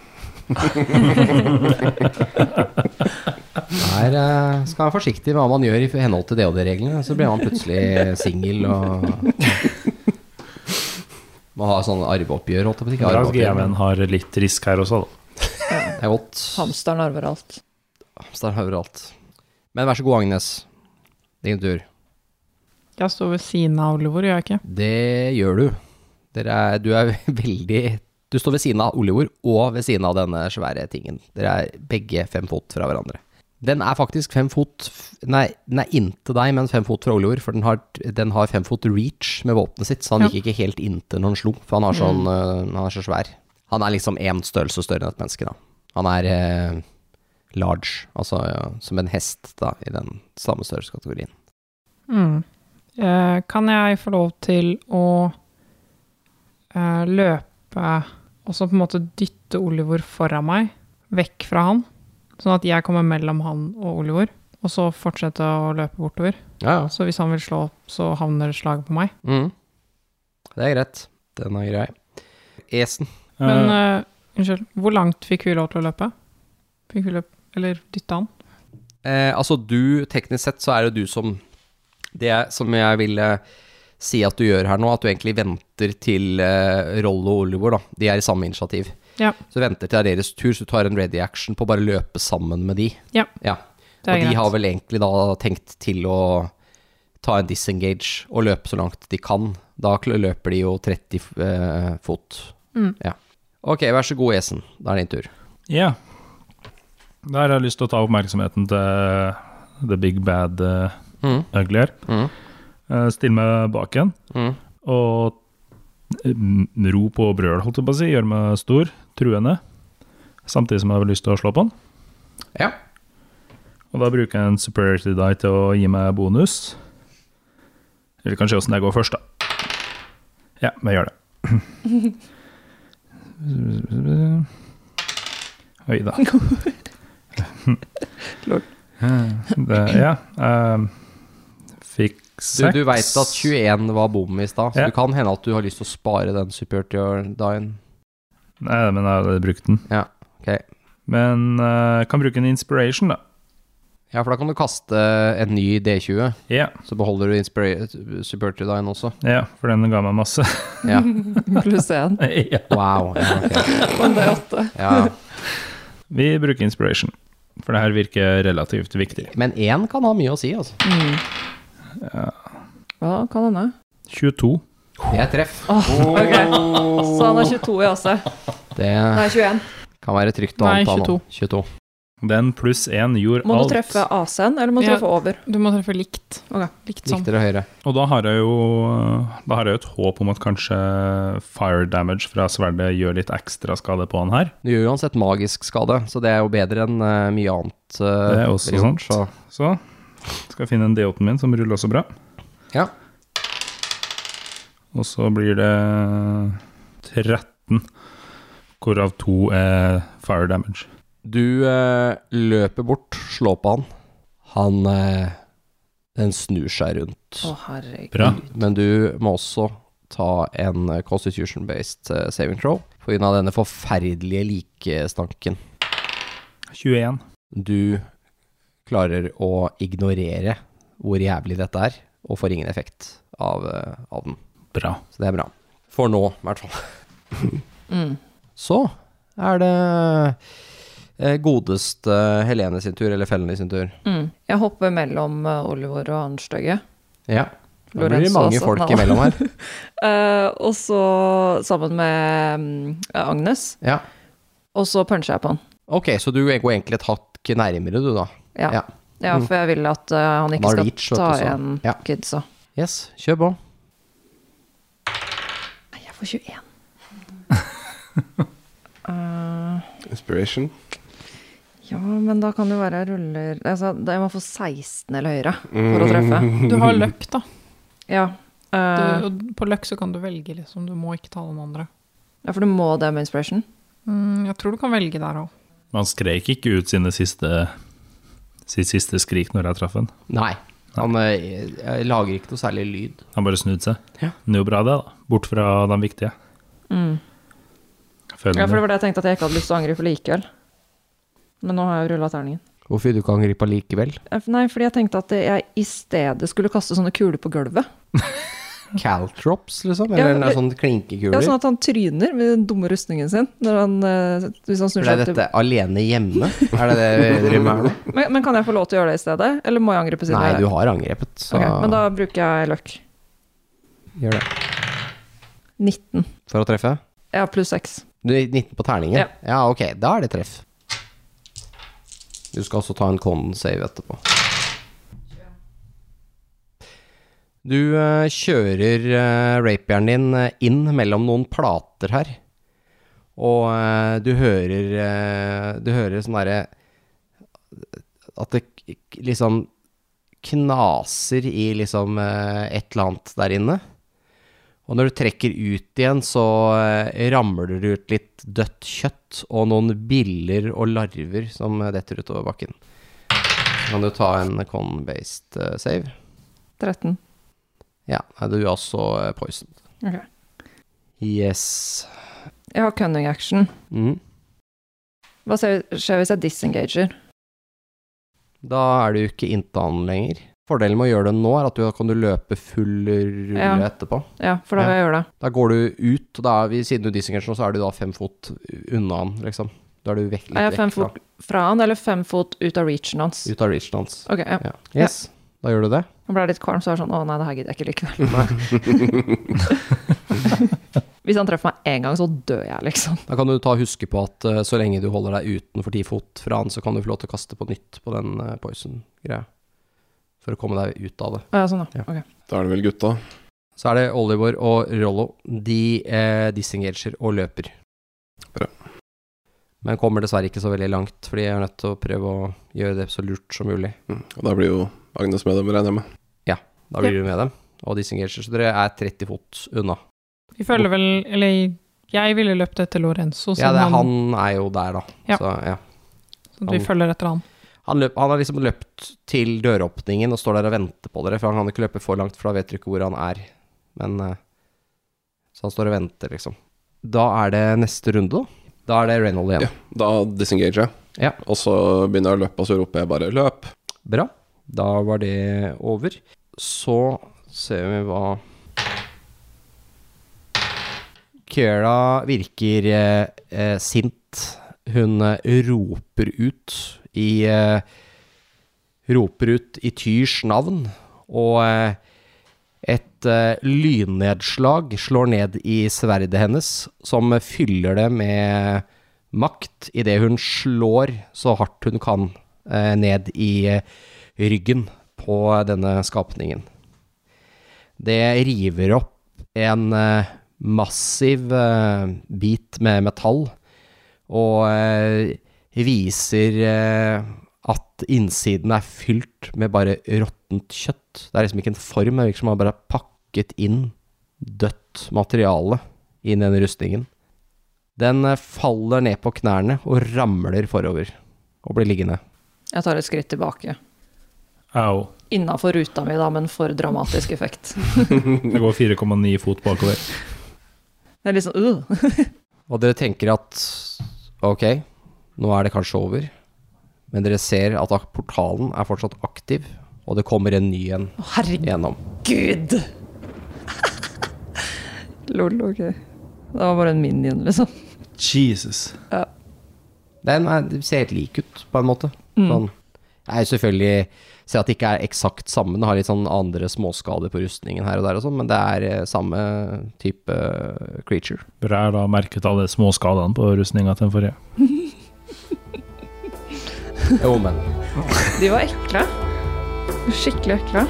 Der eh, skal man være forsiktig med hva man gjør i henhold til DOD-reglene. Så blir man plutselig singel og Må ha sånn arveoppgjør, holdt jeg på å si. Ikke Da arveoppgjør, men GM-en har litt risk her også, da. Det er godt. Hamsteren arver alt. Hamsteren hører alt. Men vær så god, Agnes. Din tur. Jeg står ved siden av Olivor, gjør jeg ikke? Det gjør du. Dere er, du er veldig Du står ved siden av Olivor og ved siden av denne svære tingen. Dere er begge fem fot fra hverandre. Den er faktisk fem fot f- Nei, den er inntil deg, men fem fot fra Olivor. For den har, den har fem fot reach med våpenet sitt, så han Ja. gikk ikke helt inntil når han slo. For han, har sånn, øh, han er så svær. Han er liksom én størrelse større enn et menneske, da. Han er eh, large, altså ja, som en hest, da, i den samme størrelseskategorien. Mm. Eh, kan jeg få lov til å eh, løpe og så på en måte dytte Olivor foran meg, vekk fra han, sånn at jeg kommer mellom han og Olivor, og så fortsette å løpe bortover. Ja, ja. Så hvis han vil slå opp, så havner slaget på meg. Mm. Det er greit. Den er grei. Esen. Men Eh, eh, unnskyld, hvor langt fikk vi lov til å løpe? Fikk vi løp, eller dytte han? Eh, altså du, teknisk sett, så er det du som Det er- som jeg ville si at du gjør her nå, at du egentlig venter til eh, Rollo og Oliver, da. De er i samme initiativ. Ja. Så du venter til det er deres tur, så du tar en ready action på å bare løpe sammen med de. Ja. ja. Det er og de greit. har vel egentlig da tenkt til å ta en disengage og løpe så langt de kan. Da kl- løper de jo 30 f- eh, fot. Mm. Ja. Ok, vær så god, Esen. Da er det din tur. Ja. Der har jeg lyst til å ta oppmerksomheten til The Big Bad eh, Mm. Ugly her. Mm. Eh, Still meg bak igjen Mm. og mm, ro på brøl, holdt jeg på å si. Gjør meg stor, truende. Samtidig som jeg har lyst til å slå på den. Ja. Og da bruker jeg en superiority die til å gi meg bonus. Eller kanskje åssen det går først, da. Ja, vi gjør det. Oi da. Lol. Det, ja. ehm, fikk Du, seks. du veit at 21 var bom i stad, så Ja. det kan hende at du har lyst til å spare den superior-dyen. Nei, men jeg hadde brukt den. Ja, ok. Men eh, kan bruke en inspiration, da. Ja, for da kan du kaste en ny D20, Ja, så beholder du superior-dyen også. ja, for den ga meg masse. Ja. Pluss én. ja. Wow. Ja, ok. Men det er åtte. ja. Vi bruker inspiration, for det her virker relativt viktig. Men én kan ha mye å si, altså. Mm. Ja. Hva kan hende? 22. Det er treff. Ok, Så han har 22 i AC. Det Nei, 21. kan være trygt å Nei, anta nå. 22. Den pluss én gjorde Må du alt. treffe AC-en, eller må du Ja. treffe over? Du må treffe likt. Ok. Likt sånn. Likte dere høyre. Og da har jeg jo Da har jeg jo et håp om at kanskje fire damage fra sverdet gjør litt ekstra skade på han her. Du gjør uansett magisk skade, så det er jo bedre enn eh, mye annet. eh, Det er også dere sånn. gjort, sant. Så skal jeg finne en D8-en min som ruller så bra. Ja. Og så blir det 13, hvorav to er fire damage. Så du eh, løper bort, slår på han. Han eh, Den snur seg rundt. Å, herregud. Bra. Men du må også ta en eh, constitution-based eh, saving throw pga. denne forferdelige likestanken. 21. Du klarer å ignorere hvor jævlig dette er, og får ingen effekt av, eh, av den. Bra. Så det er bra. For nå, i hvert fall. Mm. Så er det eh, godeste Helene sin tur, eller Fellen sin tur. Mm. Jeg hopper mellom eh, Oliver og han stygge. Ja. Da blir det Lorenzo, mange altså. folk Nei, da. imellom her. Eh, og så sammen med mm, Agnes. Ja. Og så puncher jeg på han. Ok, så du går egentlig et hakk nærmere, du, da. Ja, Ja. ja. for jeg vil at eh, han Han ikke har skal reach, vet ta du, så- igjen Ja. kidsa. Yes, kjør på. Nei, jeg får 21. Inspiration. Ja, men da kan det jo være jeg ruller altså, da Jeg må få 16 eller høyere for å treffe. Du har løkk, da. Mm. Ja. Du, eh, og på løkk så kan du velge, liksom. Du må ikke ta den andre. ja, for du må det med inspiration. Mm, jeg tror du kan velge der òg. Men han skreik ikke ut sine siste, sitt siste skrik når jeg traff han. Nei. Han eh, eh, lager ikke noe særlig lyd. Han bare snudde seg. Ja. Det er jo bra, det, da. Bort fra de viktige. Føler Mm. Ja, for det. det var det jeg tenkte at jeg ikke hadde lyst til å angripe likevel. Men nå har jeg jo rulla terningen. Hvorfor vil du ikke angripe likevel? Eh, Nei, fordi jeg tenkte at jeg i stedet skulle kaste sånne kuler på gulvet. Caltrops, liksom? Eller Ja, en det- sånn Ja, klinkekuler? sånn at han tryner med den dumme rustningen sin når han, eh, hvis han snur Ble seg til dette alene hjemme? Er det det rømmet er nå? men, men kan jeg få lov til å gjøre det i stedet, eller må jeg angripe siden Nei, jeg- du har angrepet, så Ok, Men da bruker jeg løkk. gjør det. 19. For å treffe? Ja, pluss 6. Du er 19 på terningen? Ja. Ja. ok, da er det treff. Du skal også ta en con-save etterpå. Du eh, kjører uh, rapieren din eh, inn mellom noen plater her, og eh, du hører eh, Du hører sånn derre At det k- k- liksom knaser i liksom eh, et eller annet der inne. Og når du trekker ut igjen, så eh, ramler det ut litt dødt kjøtt og noen biller og larver som eh, detter utover bakken. kan du ta en con-based eh, save. 13. Ja, nei, du er også eh, poisoned. Ok. Yes. Jeg har cunning action. Mm. Hva skjer skjer hvis jeg disengager? Da er du ikke inntil han lenger. Fordelen med å gjøre det nå, er at du kan du løpe full rulle Ja. etterpå. Ja, for da vil jeg gjøre det. Da går du ut, og da er vi, siden du disengager nå, så er du da fem fot unna han, liksom. Da er du vekk, litt Er jeg fem vekk fra- fot fra han, eller fem fot ut av reachen hans? ut av reachen hans. Ok, ja. Ja. Yes, da gjør du det. Nå ble jeg litt kvalm, så var jeg sånn Å nei, det her gidder jeg ikke likevel. Hvis han treffer meg én gang, så dør jeg, liksom. Da kan du ta og huske på at eh, så lenge du holder deg utenfor ti fot fra han, så kan du få lov til å kaste på nytt på den eh, poison-greia. For å komme deg ut av det. Ja, sånn, Ja. ja. Ok. Da er det vel gutta. Så er det Oliver og Rollo. De eh, disengager og løper. Bra. Men kommer dessverre ikke så veldig langt, fordi jeg er nødt til å prøve å gjøre det så lurt som mulig. Mm. Og da blir jo Agnes med dem, regner jeg med. Da blir du med dem og disengager, så dere er 30 fot unna. Vi følger vel Eller jeg ville løpt etter Ja, Lorenzo, siden det er, han, han er jo der, da. Ja. Så, ja. så vi han- følger etter han. Han, løp, han har liksom løpt til døråpningen og står der og venter på dere, for han kan ikke løpe for langt, for da vet dere ikke hvor han er. Men eh, Så han står og venter, liksom. Da er det neste runde, da. Da er det Reynold igjen. Ja. Da disengager jeg. Ja. Og så begynner jeg å løpe, og så roper jeg bare 'løp'. Bra. Da var det over. Så ser vi hva Kera virker eh, eh, sint. Hun eh, roper ut i eh, Roper ut i Tyrs navn, og eh, et eh, lynnedslag slår ned i sverdet hennes, som fyller det med makt idet hun slår så hardt hun kan eh, ned i eh, ryggen på denne skapningen. Det river opp en eh, massiv eh, bit med metall og eh, viser eh, at innsiden er fylt med bare råttent kjøtt. Det er liksom ikke en form, det virker som man bare har pakket inn dødt materiale inn i den rustningen. Den eh, faller ned på knærne og ramler forover og blir liggende. Jeg tar et skritt tilbake. Au. Innafor ruta mi, da, men for dramatisk effekt. Det går 4,9 fot bakover. Det er litt sånn uh. Og dere tenker at ok, nå er det kanskje over. Men dere ser at ak- portalen er fortsatt aktiv, og det kommer en ny en Å, Herregud! gjennom. Lol, ok. Det var bare en minion, liksom. Jesus. Den er, det ser helt lik ut, på en måte. Sånn. Jeg selvfølgelig ser at det ikke er eksakt samme, den har litt sånn andre småskader på rustningen her og der og sånn, men det er eh, samme type eh, creature. Bør jeg da merket alle småskadene på rustninga til den forrige? Jo, men De var ekle. Skikkelig ekle.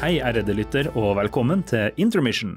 Hei, ærede lytter, og velkommen til Intermission.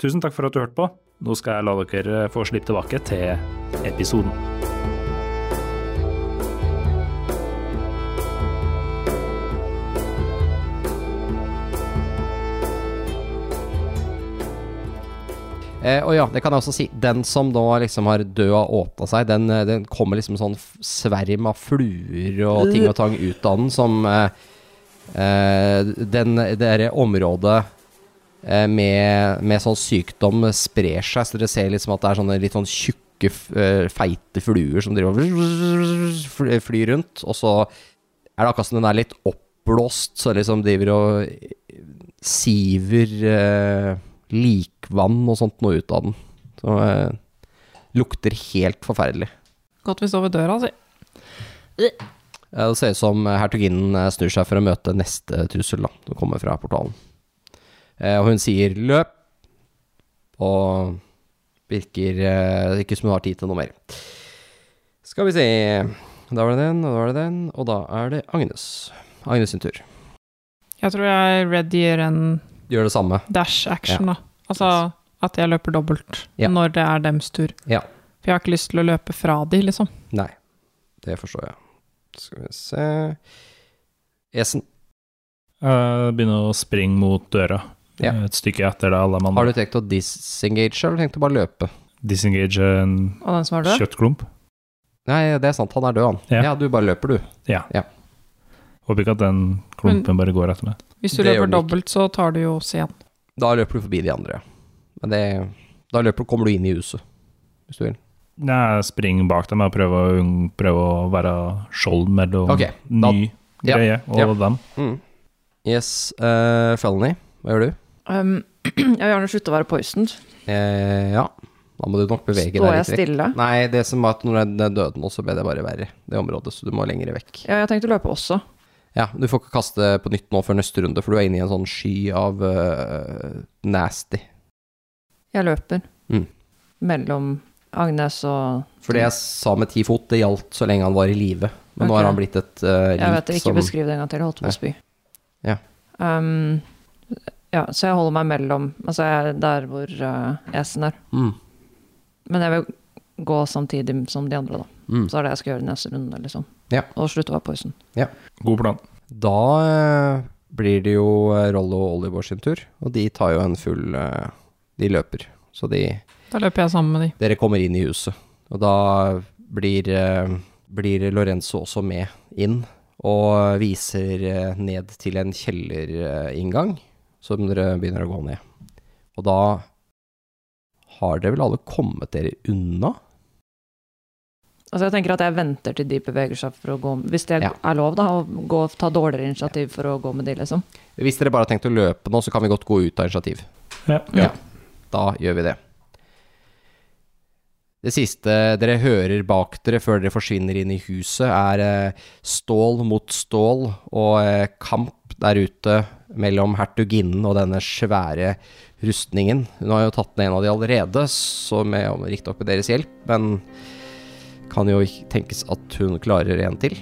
Tusen takk for at du hørte på. Nå skal jeg la dere eh, få slippe tilbake til episoden. Eh, og ja, det kan jeg også si. Den som nå liksom har døa åpna seg, den, eh, den kommer liksom sånn f- sverm av fluer og ting og tang ut av den, som eh, eh, den, Det derre området eh, med, med sånn sykdom sprer seg, så dere ser liksom at det er sånne litt sånn tjukke tjukke, f- eh, feite fluer som driver og fly- flyr rundt. Og så er det akkurat som den er litt oppblåst, så liksom driver og siver eh, likvann og sånt noe ut av den. Så eh, lukter helt forferdelig. Godt vi står ved døra, altså. si. Eh, Det ser ut som hertuginnen eh, snur seg for å møte neste trussel da, som kommer fra portalen. Eh, Og hun sier 'løp', og virker eh, ikke som hun har tid til noe mer. Skal vi se Da var det den, og da var det den, og da er det Agnes. Agnes sin tur. Jeg tror jeg readier en Gjør det samme. dash action, da. Altså at jeg løper dobbelt Ja. når det er dems tur. Ja. For jeg har ikke lyst til å løpe fra de, liksom. Nei, det forstår jeg. Skal vi se Esen, Jeg begynner Eh, å springe mot døra, Eh, Ja. et stykke etter det alle mann har du tenkt å disengage, eller har du tenkt å bare løpe? disengage en Og den som er død? kjøttklump. Nei, det er sant, han er død, han. Ja. Ja, du bare løper, du. Håper ikke at den klumpen bare går etter meg. Hvis du Det gjør den løper ikke. dobbelt, så tar du jo oss igjen. Da løper du forbi de andre. Men det, da løper, kommer du inn i huset, hvis du vil. Nei, Jeg springer bak dem og prøver, å unng- prøver å være skjold mellom Ok, da- ny ja, greie og ja. dem. Mm. Yes, uh, Felony, hva gjør du? Um, jeg vil gjerne slutte å være poisoned. Eh, ja, da må du nok bevege deg Står jeg litt vekk. stille? Nei, det som var at når den døde nå, så ble det bare verre, det området, så du må lenger vekk. Ja, jeg tenkte å løpe også. Ja, du får ikke kaste på nytt nå før neste runde, for du er inne i en sånn sky av eh, nasty. Jeg løper Mm. mellom Agnes og For det jeg sa med ti fot, det gjaldt så lenge han var i live. Men nå Ok. har han blitt et eh, Jeg vet lik det, ikke som beskriv det en gang til. Jeg holdt på å spy. Ja. Um, ja, så jeg holder meg mellom Altså jeg er der hvor uh, esen er. Mm. Men jeg vil gå samtidig som de andre, da. Mm. Så er det jeg skal gjøre i neste runde, liksom. Ja. Og slutte å være poison. God plan. Da eh, blir det jo eh, Rollo og Oliver sin tur, og de tar jo en full eh, De løper. Så de Da løper jeg sammen med de. Dere kommer inn i huset, og da blir, eh, blir Lorenzo også med inn og viser eh, ned til en kjellerinngang som dere begynner å gå ned. Og da har dere vel alle kommet dere unna? Altså jeg tenker at jeg venter til de beveger seg for å gå Hvis det Ja. er lov, da, å gå, ta dårligere initiativ for å gå med de, liksom. Hvis dere bare har tenkt å løpe nå, så kan vi godt gå ut av initiativ. Ja. Ja. Da gjør vi det. Det siste dere hører bak dere før dere forsvinner inn i huset, er eh, stål mot stål og eh, kamp der ute mellom hertuginnen og denne svære rustningen. Hun har jo tatt ned en av de allerede, så med om riktignok med deres hjelp, men kan jo ikke tenkes at hun klarer en til.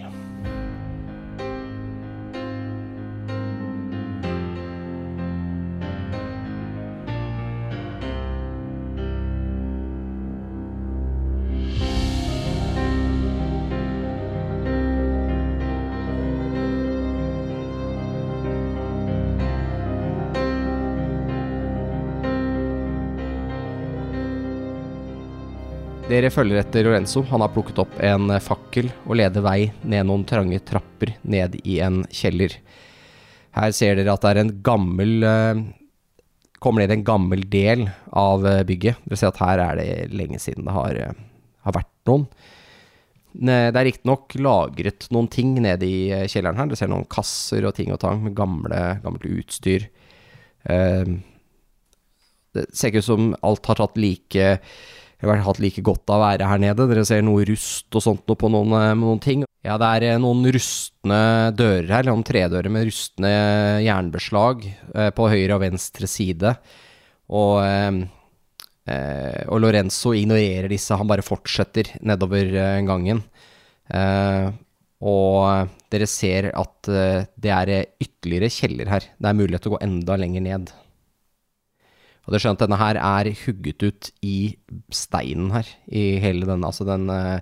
Dere følger etter Lorenzo. Han har plukket opp en eh, fakkel og leder vei ned noen trange trapper ned i en kjeller. Her ser dere at det er en gammel eh, Kommer ned i en gammel del av eh, bygget. Dere ser at her er det lenge siden det har, eh, har vært noen. Ne- Det er riktignok lagret noen ting nede i eh, kjelleren her. Dere ser noen kasser og ting og tang med gamle, gammelt utstyr. Eh, Det ser ikke ut som alt har tatt like jeg har hatt like godt av å være her nede. Dere ser noe rust og sånt noe på noen, eh, noen ting. Ja, det er eh, noen rustne dører her, eller noen tredører med rustne jernbeslag eh, på høyre og venstre side. Og, eh, eh, og Lorenzo ignorerer disse, han bare fortsetter nedover eh, gangen. Eh, og eh, dere ser at eh, det er eh, ytterligere kjeller her. Det er mulighet til å gå enda lenger ned. Og det er skjønt, denne her er hugget ut i steinen her, i hele den, altså den eh,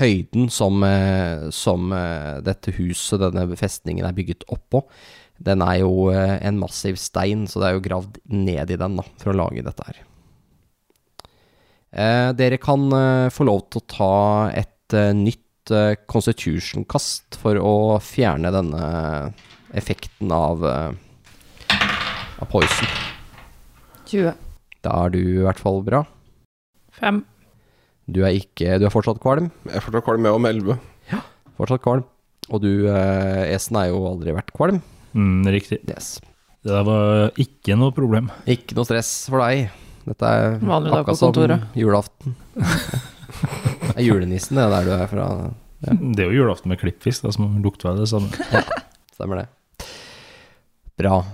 høyden som, eh, som eh, dette huset, denne festningen er bygget oppå. Den er jo eh, en massiv stein, så det er jo gravd ned i den da, for å lage dette her. Eh, dere kan eh, få lov til å ta et eh, nytt eh, Constitution-kast for å fjerne denne effekten av, eh, av poison. 20. Da er du i hvert fall bra. Fem. Du er, ikke, du er fortsatt kvalm. Jeg får ta kvalm med om 11. Fortsatt kvalm. Og du, eh, Esen, er jo aldri vært kvalm. Mm, riktig. Yes. Det der var ikke noe problem. Ikke noe stress for deg. Dette er Vanlig dag på akkurat som kontoret. julaften. det er julenissen, det er der du er fra. Det er jo julaften med klippfisk, da, som lukter vel det samme. Stemmer det. Bra.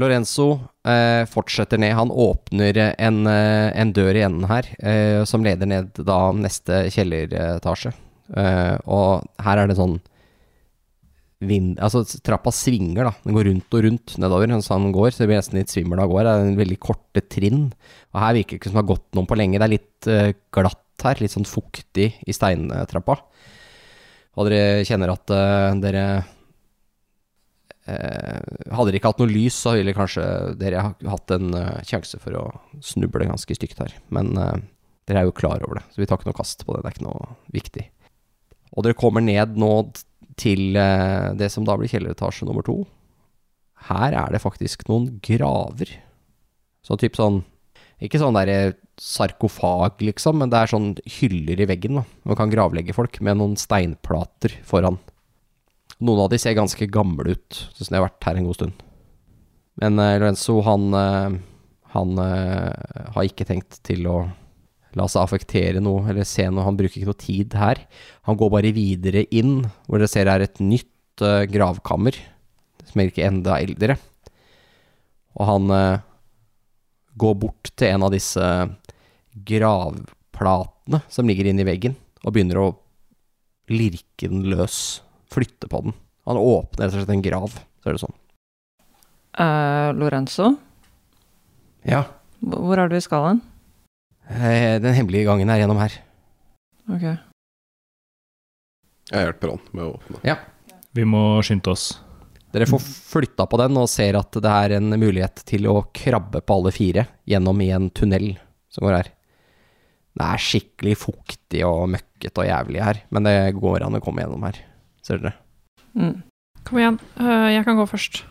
Lorenzo eh, fortsetter ned. Han åpner en, eh, en dør i enden her, eh, som leder ned da neste kjelleretasje. Eh, og her er det sånn vind, Altså trappa svinger, da. Den går rundt og rundt nedover mens han går, så det blir nesten litt svimmel av gårde. Det er en veldig korte trinn. Og her virker det ikke som det har gått noen på lenge. Det er litt eh, glatt her, litt sånn fuktig i steintrappa. Og dere kjenner at eh, dere Eh, hadde dere ikke hatt noe lys, så ville kanskje dere ha- hatt en eh, sjanse for å snuble ganske stygt her. Men eh, dere er jo klar over det, så vi tar ikke noe kast på det. Det er ikke noe viktig. Og dere kommer ned nå d- til eh, det som da blir kjelleretasje nummer to. Her er det faktisk noen graver. Sånn type sånn Ikke sånn der eh, sarkofag, liksom, men det er sånn hyller i veggen. da. Man kan gravlegge folk med noen steinplater foran. Noen av de ser ganske gamle ut, sånn som de har vært her en god stund. Men eh, Lorenzo, han, eh, han eh, har ikke tenkt til å la seg affektere noe, eller se noe. Han bruker ikke noe tid her. Han går bare videre inn, hvor dere ser det er et nytt eh, gravkammer, som er ikke enda eldre. Og han eh, går bort til en av disse gravplatene som ligger inni veggen, og begynner å lirke den løs. Flytte på den. Han åpner rett og slett en grav, så er det sånn. Eh, Lorenzo, Ja. hvor hvor er du i skalaen? Eh, Den hemmelige gangen er gjennom her. Ok. Jeg hjelper han med å åpne. Vi må skynde oss. Dere får flytta på den og ser at det er en mulighet til å krabbe på alle fire gjennom i en tunnel som går her. Det er skikkelig fuktig og møkkete og jævlig her, men det går an å komme gjennom her. Ser dere. Mm. Kom igjen, øh, jeg kan gå først.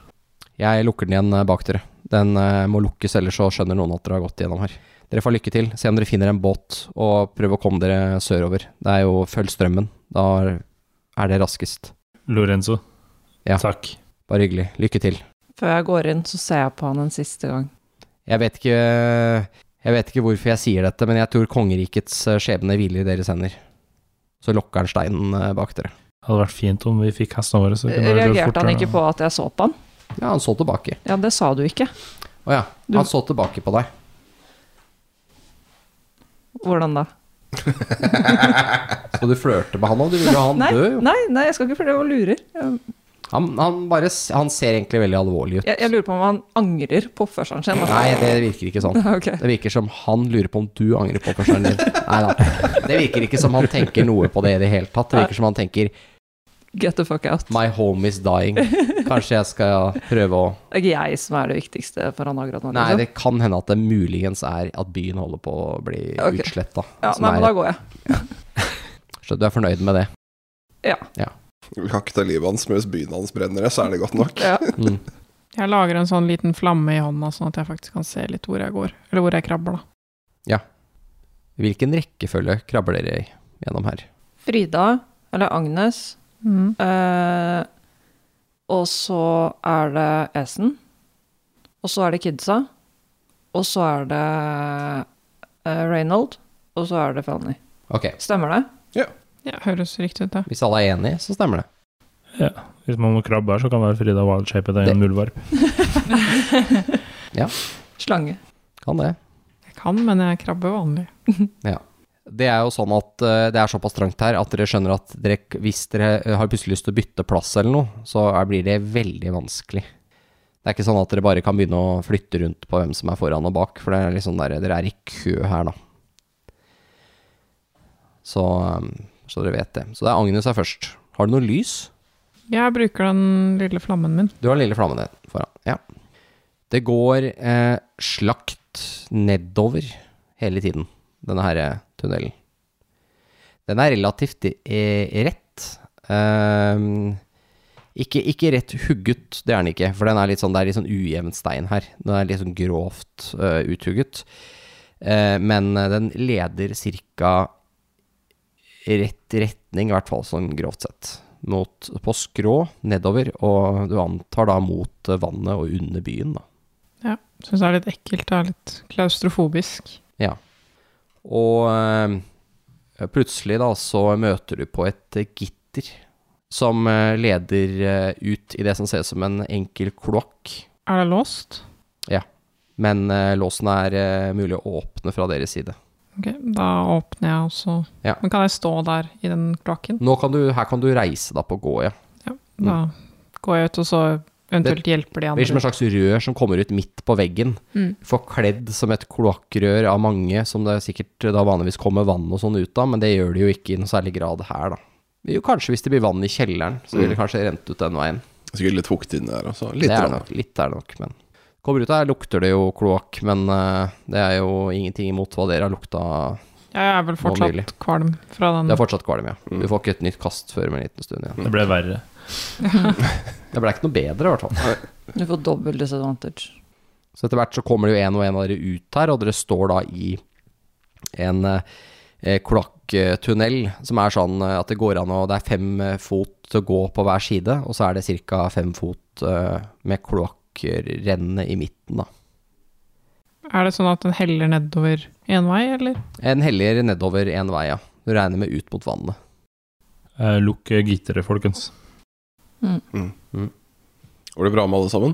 Jeg lukker den igjen eh, bak dere. Den eh, må lukkes, ellers så skjønner noen at dere har gått gjennom her. Dere får lykke til. Se om dere finner en båt, og prøv å komme dere sørover. Det er jo følg strømmen. Da er det raskest. Lorenzo, Ja. takk. Bare hyggelig. Lykke til. Før jeg går inn, så ser jeg på han en siste gang. Jeg vet ikke Jeg vet ikke hvorfor jeg sier dette, men jeg tror kongerikets eh, skjebne hviler i deres hender. Så lokker han steinen eh, bak dere. Det hadde vært fint om vi fikk hestene våre. Så vi kunne løpt Reagerte han fortere. ikke på at jeg så på han? Ja, han så tilbake. Ja, det sa du ikke. Å ja, Du- han så tilbake på deg. Hvordan da? Så du flørte med han òg? Du ville ha han Nei, død, jo. nei, nei, jeg skal ikke flørte, jeg bare lurer. Jeg, Han, han, bare, s- han ser egentlig veldig alvorlig ut. jeg, jeg lurer på om han angrer på oppførselen sin. altså. Nei, det virker ikke sånn. Ok. Det virker som han lurer på om du angrer på oppførselen din. Nei da. Det virker ikke som han tenker noe på det i det hele tatt. Det virker som han tenker Get the fuck out. 'my home is dying'. Kanskje jeg skal prøve å Det er ikke jeg som er det viktigste for han akkurat nå. Nei, liksom. det kan hende at det muligens er at byen holder på å bli Ok. utsletta. ja, nei, men da går jeg. Så du er fornøyd med det? Vi kan ikke ta livet hans mens byen hans brenner, så er det godt nok. Ja. Mm. Jeg lager en sånn liten flamme i hånda, sånn at jeg faktisk kan se litt hvor jeg går. Eller hvor jeg krabber, da. Hvilken rekkefølge krabber dere i gjennom her? Frida, eller Agnes, Mm. Mhm. eh, og så er det Esen, og så er det Kidsa, og så er det eh, Reynold, og så er det Felny. Ok, Stemmer det? Ja, høres riktig ut, det. hvis alle er enige, så stemmer det. Hvis man må krabbe her, så kan det være Frida Wildshape deg en muldvarp. Slange. Kan det. Jeg kan, men jeg krabber vanlig. Det er jo sånn at eh, det er såpass trangt her at dere skjønner at dere, k- hvis dere eh, har plutselig lyst til å bytte plass eller noe, så er, blir det veldig vanskelig. Det er ikke sånn at dere bare kan begynne å flytte rundt på hvem som er foran og bak, for det er litt sånn der, dere er i kø her, da. Så, eh, så dere vet det. Så det er Agnes er først. Har du noe lys? Jeg bruker den lille flammen min. Du har den lille flammen din foran. Ja. Det går eh, slakt nedover hele tiden, denne her eh, tunnelen. Den er relativt eh, rett. Ehm, ikke, ikke rett hugget, det er den ikke, for den er litt sånn, det er litt sånn ujevn stein her. Den er litt sånn grovt eh, uthugget. Eh, men eh, den leder cirka rett retning, i hvert fall sånn grovt sett. Mot, på skrå nedover, og du antar da mot eh, vannet og under byen, da. Ja. Syns det er litt ekkelt. Det er litt klaustrofobisk. Ja. Og eh, plutselig da så møter du på et eh, gitter som eh, leder eh, ut i det som ser ut som en enkel kloakk. Er det låst? Men eh, låsen er eh, mulig å åpne fra deres side. Ok, da åpner jeg også. Ja. Men kan jeg stå der i den kloakken? Nå kan du, her kan du reise deg opp og gå, ja. Da går jeg ut, og så eventuelt hjelper de Mm. Det blir som andre. en slags rør som kommer ut midt på veggen. Mm. Forkledd som et kloakkrør av mange, som det sikkert da vanligvis kommer vann og sånn ut av, men det gjør det jo ikke i noe særlig grad her, da. Det er Jo, kanskje hvis det blir vann i kjelleren, så vil det kanskje rent ut den veien. Sikkert litt fuktig inni der også. Mm. Litt det er rann. nok, litt er det nok, men Kommer ut her, lukter det jo kloakk, men eh, det er jo ingenting imot hva dere har lukta. Jeg er vel nylig. fortsatt kvalm fra Det den. er fortsatt kvalm, ja. Mm. Du får ikke et nytt kast før om en liten stund igjen. Det ble verre. Det ble ikke noe bedre, i hvert fall. Du får dobbel disadvantage. Så etter hvert så kommer det jo en og en av dere ut her, og dere står da i en eh, kloakktunnel som er sånn eh, at det går an å Det er fem eh, fot å gå på hver side, og så er det ca. fem fot eh, med kloakkrennene i midten, da. Er det sånn at den heller nedover én vei, eller? En heller nedover én vei, ja. Du regner med ut mot vannet. Eh, Lukk eh, gitteret, folkens. Mm. Mm. Mm. Går det bra med alle sammen?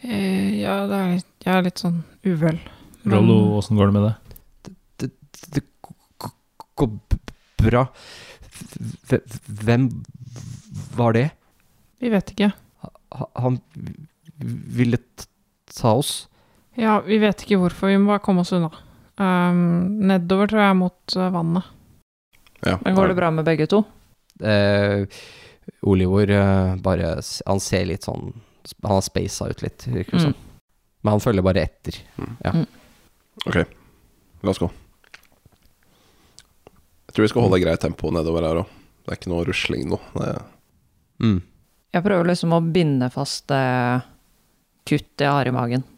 Eh, ja, det er litt, jeg er litt sånn uvel. Mm. Men- Rollo, åssen går det med det? Det går bra Hvem var det? Vi vet ikke. Han ville ta oss? Ja, vi vet ikke hvorfor. Vi må bare komme oss unna. Ehm, nedover, tror jeg, mot eh, vannet. Ja. Men går det bra med begge to? Eh, Olivor eh, bare s- Han ser litt sånn Han har spasa ut litt, virker det som. Mm. Men han følger bare etter. La oss gå. Jeg tror vi skal holde greit tempo nedover her òg. Det er ikke noe rusling nå. Det er Mm. Jeg prøver liksom å binde fast det kuttet jeg har i magen.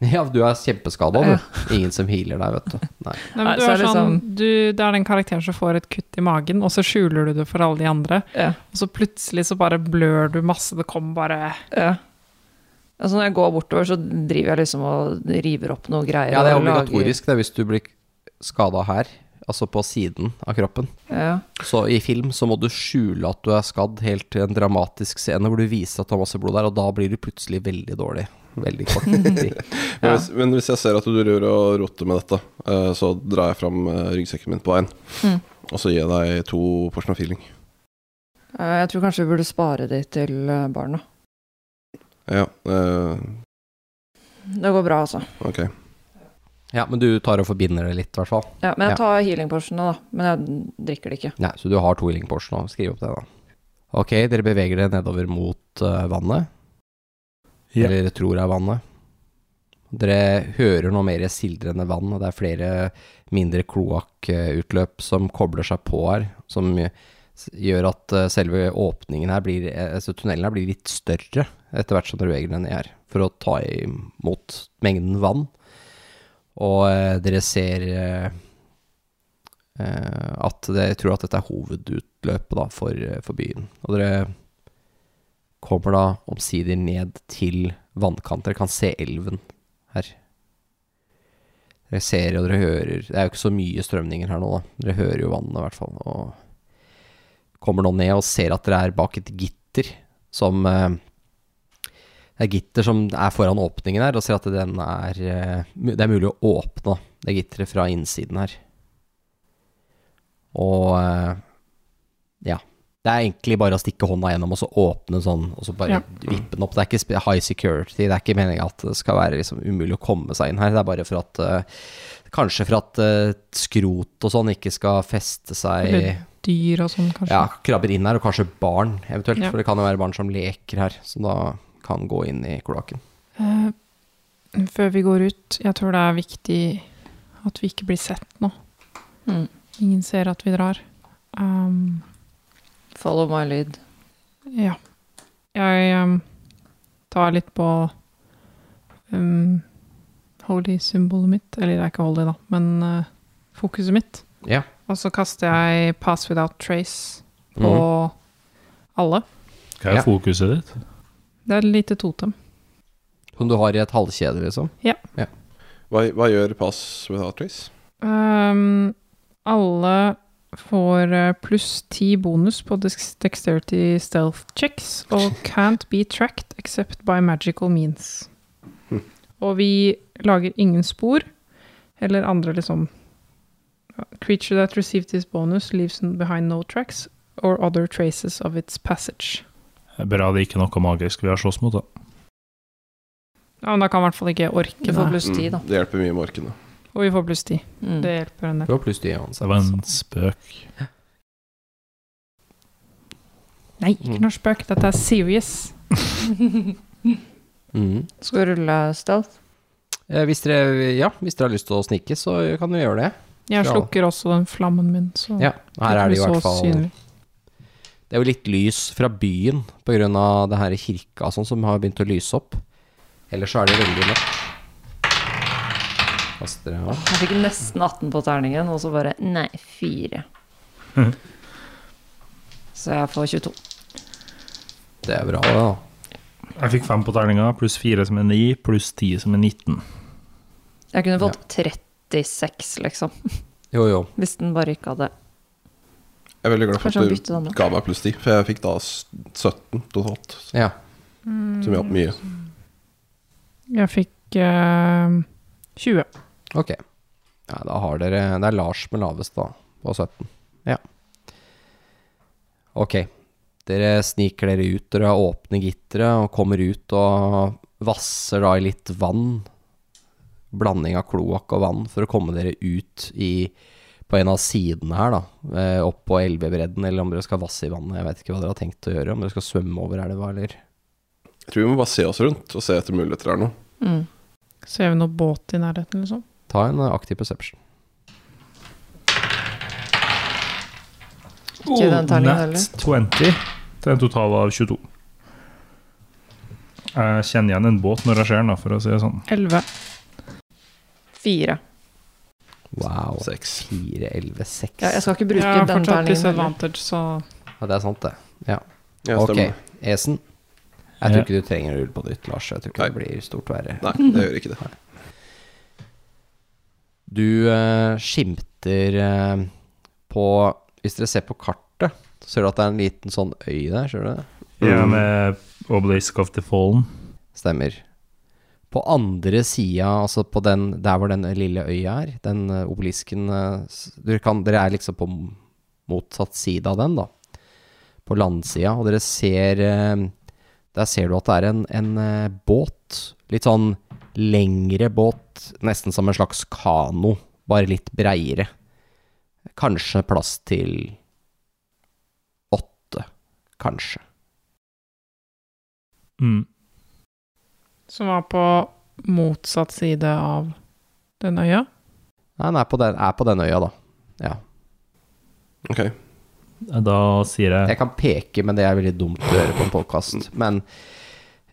Ja, du er kjempeskada, du. Ingen som healer deg, vet du. Nei. Nei, Nei, men du, så er er det sånn, du, det er den karakteren som får et kutt i magen, og så skjuler du det for alle de andre. Ja. Og så plutselig så bare blør du masse, det kommer bare Ja. Altså når jeg går bortover, så driver jeg liksom og river opp noen greier. Ja, det er og lager- obligatorisk det hvis du blir skada her, altså på siden av kroppen. Ja. Så i film så må du skjule at du er skadd, helt til en dramatisk scene hvor du viser at du har masse blod der, og da blir du plutselig veldig dårlig. Veldig kort tid. Men, hvis, men hvis jeg ser at du rører og roter med dette, eh, så drar jeg fram eh, ryggsekken min på veien. Mm. Og så gir jeg deg to porsjon av feeling. Eh, Jeg tror kanskje vi burde spare de til eh, barna. Ja, eh, Det går bra, altså. ok. Ja, men du tar og forbinder det litt, i hvert fall. Ja, men Ja. jeg tar healing potionene, da. Men jeg drikker det ikke. Nei, så du har to healing potions nå. Skriv opp det, da. Ok, dere beveger dere nedover mot eh, vannet. Ja. Eller dere tror er vannet. Dere hører noe mer sildrende vann, og det er flere mindre kloakkutløp som kobler seg på her, som s- gjør at eh, selve åpningen her blir, eh, altså tunnelen her blir litt større etter hvert som dere beveger dere ned her, for å ta imot mengden vann. Og eh, dere ser eh, Eh, at det, jeg tror at dette er hovedutløpet da, for, eh, for byen. Og dere kommer da omsider ned til vannkant. Dere kan se elven her. Dere ser og dere hører Det er jo ikke så mye strømninger her nå, da. Dere hører jo vannet, i hvert fall. Og kommer nå ned og ser at dere er bak et gitter som eh, Det er gitter som er foran åpningen her, og ser at den er eh, mu- Det er mulig å åpne da, det gitteret fra innsiden her. Og eh, ja. Det er egentlig bare å stikke hånda gjennom og så åpne sånn, og så bare Ja. vippe den opp. Det er ikke spe- high security, det er ikke meningen at det skal være liksom umulig å komme seg inn her. Det er bare for at eh, Kanskje for at eh, skrot og sånn ikke skal feste seg Eller dyr og sånn, kanskje. ja, krabber inn her, og kanskje barn eventuelt. Ja. For det kan jo være barn som leker her, som da kan gå inn i kloakken. Eh, før vi går ut, jeg tror det er viktig at vi ikke blir sett nå. Mm. Ingen ser at vi drar. Ehm, Follow my lead. ja. Jeg ehm, tar litt på um, holy-symbolet mitt. Eller det er ikke holy, da, men eh, fokuset mitt. Ja. Og så kaster jeg pass without trace på alle. Hva er Ja. fokuset ditt? Det er et lite totem. Som du har i et halvkjede, liksom. Hva, hva gjør pass without trace? Ehm, alle får eh, pluss ti bonus på dex- dexterity stealth checks og can't be tracked except by magical means. Og vi lager ingen spor eller andre liksom Creature that received this bonus leaves behind no tracks or other traces of its passage. Eh, Bra det er ikke noe magisk vi har slåss mot, da. Ja, men da kan i hvert fall ikke Du orke får det. pluss ti, da. Mm, det hjelper mye med orkene. Og vi får pluss ti. Mm. Det hjelper en del. Du har pluss 10 uansett. Det var en spøk. Nei, ikke noe spøk. Dette er serious. Mm. Skal vi rulle stealth? Eh, hvis, dere, ja, hvis dere har lyst til å snike, så kan du gjøre det. Jeg Ja. slukker også den flammen min, så Ja, her er det i ikke hvert blir Mm. så fall synlig. Det er jo litt lys fra byen pga. det her kirka og sånn som har begynt å lyse opp. Ellers så er det veldig mørkt. Pass dere av. Jeg fikk nesten 18 på terningen, og så bare nei, 4. Så jeg får 22. Det er bra, da. Jeg fikk fem på terninga, pluss fire som er ni, pluss ti som er 19. Jeg kunne fått 36, liksom. Jo, jo. Hvis den bare ikke hadde Jeg er veldig glad for Kanskje han at bytter den du nå. ga meg pluss 10, for jeg fikk da s- 17 totalt, Ja. som hjalp mye. Jeg fikk eh, 20. Ok. Ja, da har dere Det er Lars med lavest, da. På 17. Ja. Ok. Dere sniker dere ut. Dere åpner gitteret og kommer ut og vasser da i litt vann. Blanding av kloakk og vann for å komme dere ut i på en av sidene her, da. Eh, Opp på elvebredden, eller om dere skal vasse i vannet. Jeg vet ikke hva dere har tenkt å gjøre. Om dere skal svømme over elva, eller Jeg tror vi må bare se oss rundt og se etter muligheter her nå. mm. Ser vi noe båt i nærheten, liksom? Ta en eh, aktiv perception. Ikke Oh, den terningen heller. Nett 20 til en total av 22. Jeg kjenner igjen en båt når jeg ser den, da, for å si det sånn. 11. 4. Wow. Seks. 4, 11, 6. ja, Jeg skal ikke bruke jeg har den fortsatt terningen. heller. disadvantage, så Ja, det er sant, det. Ja, Ok, stemmer. Esen. Jeg tror Ja. ikke du trenger å rulle på nytt, Lars. Jeg tror ikke Nei. det blir stort verre. Nei, det gjør ikke det. Du eh, skimter eh, på Hvis dere ser på kartet, så ser du at det er en liten sånn øy der, ser du det? Jeg Mm. er med eh, Obelisk of the Fallen. Stemmer. På andre sida, altså på den, der hvor den lille øya er, den eh, obelisken eh, s- dere, kan, dere er liksom på m- motsatt side av den, da. På landsida, og dere ser eh, Der ser du at det er en, en eh, båt. Litt sånn lengre båt, nesten som en slags kano, bare litt breiere. Kanskje plass til åtte, kanskje. Mm. Som var på motsatt side av den øya. Nei, den er på den, er på den øya, da. Ja. Ok, Da sier jeg Jeg kan peke, men det er veldig dumt å gjøre på en podkast. Men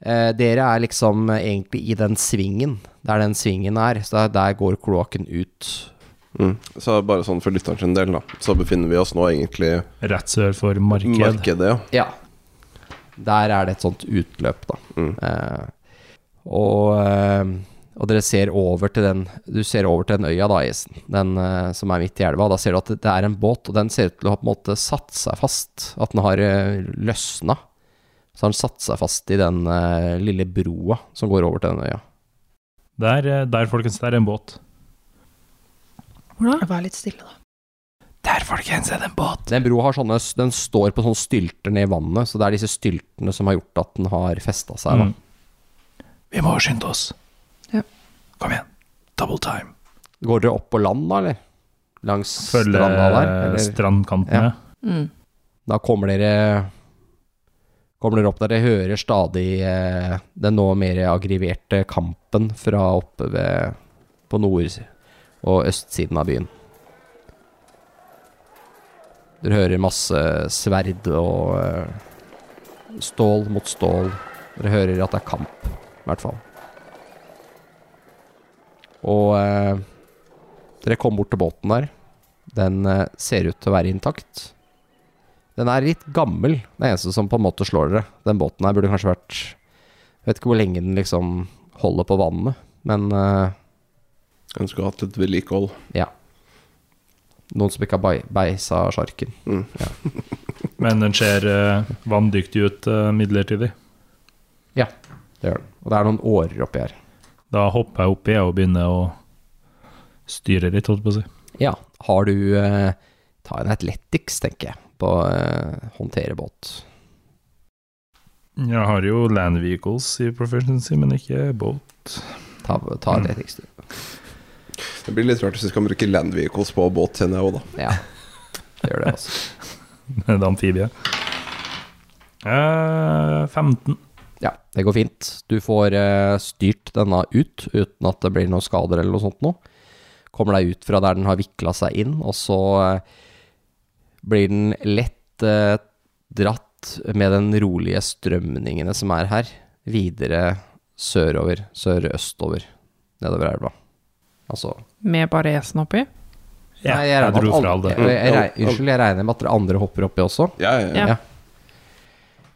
eh, dere er liksom eh, egentlig i den svingen, der den svingen er. Så der, der går kloakken ut. mm. Så bare sånn for lytteren sin del, da. Så befinner vi oss nå egentlig rett sør for i marked. markedet, ja. Ja. Der er det et sånt utløp, da. Mm. Eh, og, eh, og dere ser over til den Du ser over til den øya, da, Esen, den eh, som er midt i elva. Da ser du at det- det er en båt, og den ser ut til å ha på en måte satt seg fast. At den har eh, løsna. Så har den satt seg fast i den eh, lille broa som går over til den øya. Der, eh, der, folkens, der er en båt. Hvor da? Vær litt stille, da. Der, folkens, er det en båt! Den broa har sånne Den står på sånne stylter ned i vannet, så det er disse styltene som har gjort at den har festa seg, da. Mm. Vi må skynde oss. Ja. Kom igjen. Double time. Går dere opp på land, da, eller? Langs Følge stranda der? Eller? strandkantene. Mm. Da kommer dere Kommer dere opp der dere hører stadig eh, den nå mer aggraverte kampen fra oppe ved På nord- og østsiden av byen. Dere hører masse sverd og eh, stål mot stål. Dere hører at det er kamp, i hvert fall. Og eh, dere kom bort til båten der. Den eh, ser ut til å være intakt. Den er litt gammel, det eneste som på en måte slår dere. Den båten her burde kanskje vært Jeg vet ikke hvor lenge den liksom holder på vannet, men eh, En skulle hatt litt vedlikehold. noen som ikke har bei- beisa sjarken. Mm. Men den ser eh, vanndyktig ut eh, midlertidig. Det gjør den. Og det er noen årer oppi her. Da hopper jeg oppi jeg, og begynner å styre litt, holdt på å si. Ja. Har du eh, Ta en Athletics, tenker jeg, på å eh, håndtere båt. Jeg har jo land vehicles i proficiency, men ikke båt. Ta, ta Mm. Athletics, du. Det blir litt rart hvis vi skal bruke land vehicles på båt, kjenner jeg òg, da. Ja. Det gjør det, altså. Det er amfibie. Eh, 15. Ja, det går fint. Du får eh, styrt denne ut uten at det blir noen skader eller noe sånt nå. Kommer deg ut fra der den har vikla seg inn, og så eh, blir den lett eh, dratt med den rolige strømningene som er her, videre sørover, sørøstover, nedover elva. Altså Med bare esen oppi. Ja, Nei, jeg, regner med dro at fra alle- det. Jeg, jeg, reg- unnskyld, jeg regner med at dere andre hopper oppi også, Ja, ja, ja. Ja.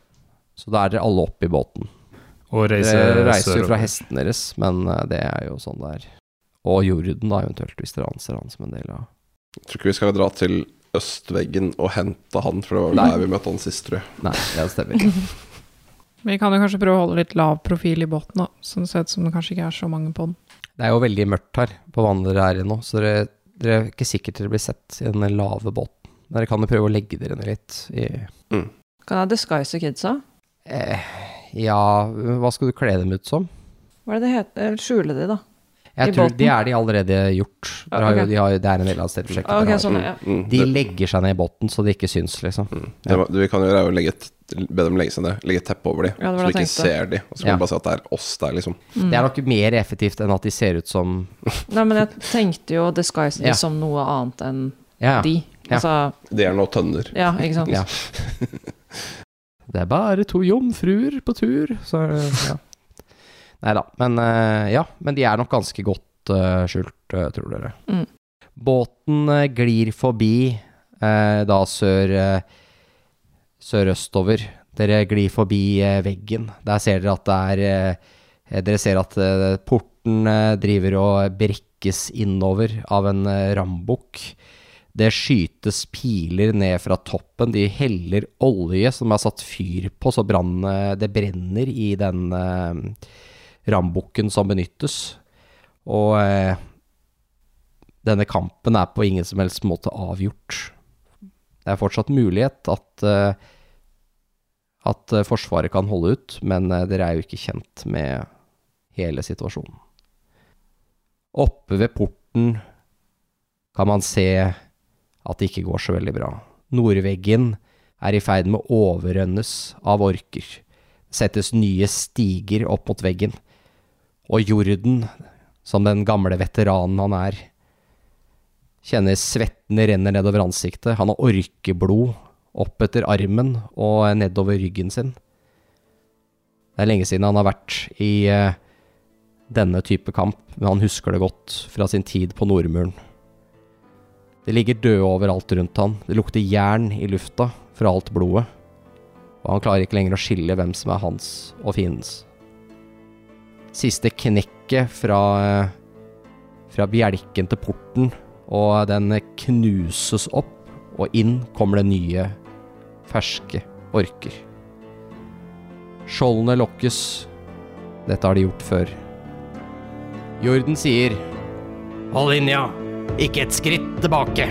så da er dere alle oppi båten. Og reiser, Dere reiser jo fra sørover. hesten deres, men eh, det er jo sånn det er. Og jorden, da, eventuelt, hvis dere anser han som en del av Jeg tror ikke vi skal dra til østveggen og hente han, for det var vel Nei. der vi møtte han sist, tror jeg. Nei, det stemmer. Vi kan jo kanskje prøve å holde litt lav profil i båten, da. Sånn sett som det kanskje ikke er så mange på den. Det er jo veldig mørkt her på vannet dere er i nå, så dere, dere er ikke sikkert dere blir sett i den lave båten. Men dere kan jo prøve å legge dere ned litt i Kan jeg disguise kidsa? eh, Ja, hva skal du kle dem ut som? Hva er det det heter? Eller Skjule de, da. I Jeg tror båten? de er de allerede gjort. Dere Ja, har jo, ok. de har, det er en del av stedprosjektet. Ah, ok, dere har. sånn, ja. Mm, mm. De Det- legger seg ned i båten så de ikke syns, liksom. Mm. Det, var- det vi kan gjøre, er å legge et, be dem legge seg ned, legge et teppe over dem, Ja, det var så de det ikke jeg tenkte. ser dem. Og så kan Ja. vi bare si at det er oss der, liksom. Mm. Det er nok mer effektivt enn at de ser ut som Nei, men jeg tenkte jo disguise de Ja. som noe annet enn Ja, de. Ja. Altså, De er nå tønner. ja, ikke sant. Ja. Det er bare to jomfruer på tur, så ja. Nei da, men eh, ja. Men de er nok ganske godt eh, skjult, eh, tror dere. Mm. Båten eh, glir forbi eh, da sør eh, sørøstover. Dere glir forbi eh, veggen. Der ser dere at det er eh, Dere ser at eh, porten eh, driver og brekkes innover av en eh, rambukk. Det skytes piler ned fra toppen. De heller olje som er satt fyr på, så brann, eh, det brenner i den eh, rambukken som benyttes. Og eh, denne kampen er på ingen som helst måte avgjort. Det er fortsatt mulighet at, eh, at eh, Forsvaret kan holde ut, men eh, dere er jo ikke kjent med hele situasjonen. Oppe ved porten kan man se at det ikke går så veldig bra. Nordveggen er i ferd med å overrønnes av orker. Det settes nye stiger opp mot veggen. Og Jorden, som den gamle veteranen han er, kjenner svetten renner nedover ansiktet. Han har orkeblod opp etter armen og nedover ryggen sin. Det er lenge siden han har vært i eh, denne type kamp, men han husker det godt fra sin tid på Nordmuren. Det ligger døde overalt rundt han. Det lukter jern i lufta fra alt blodet. Og han klarer ikke lenger å skille hvem som er hans og fiendens. Siste knekket fra, eh, fra bjelken til porten, og den knuses opp, og inn kommer det nye, ferske orker. Skjoldene lokkes. Dette har de gjort før. Jorden sier Hold linja! Ikke et skritt tilbake.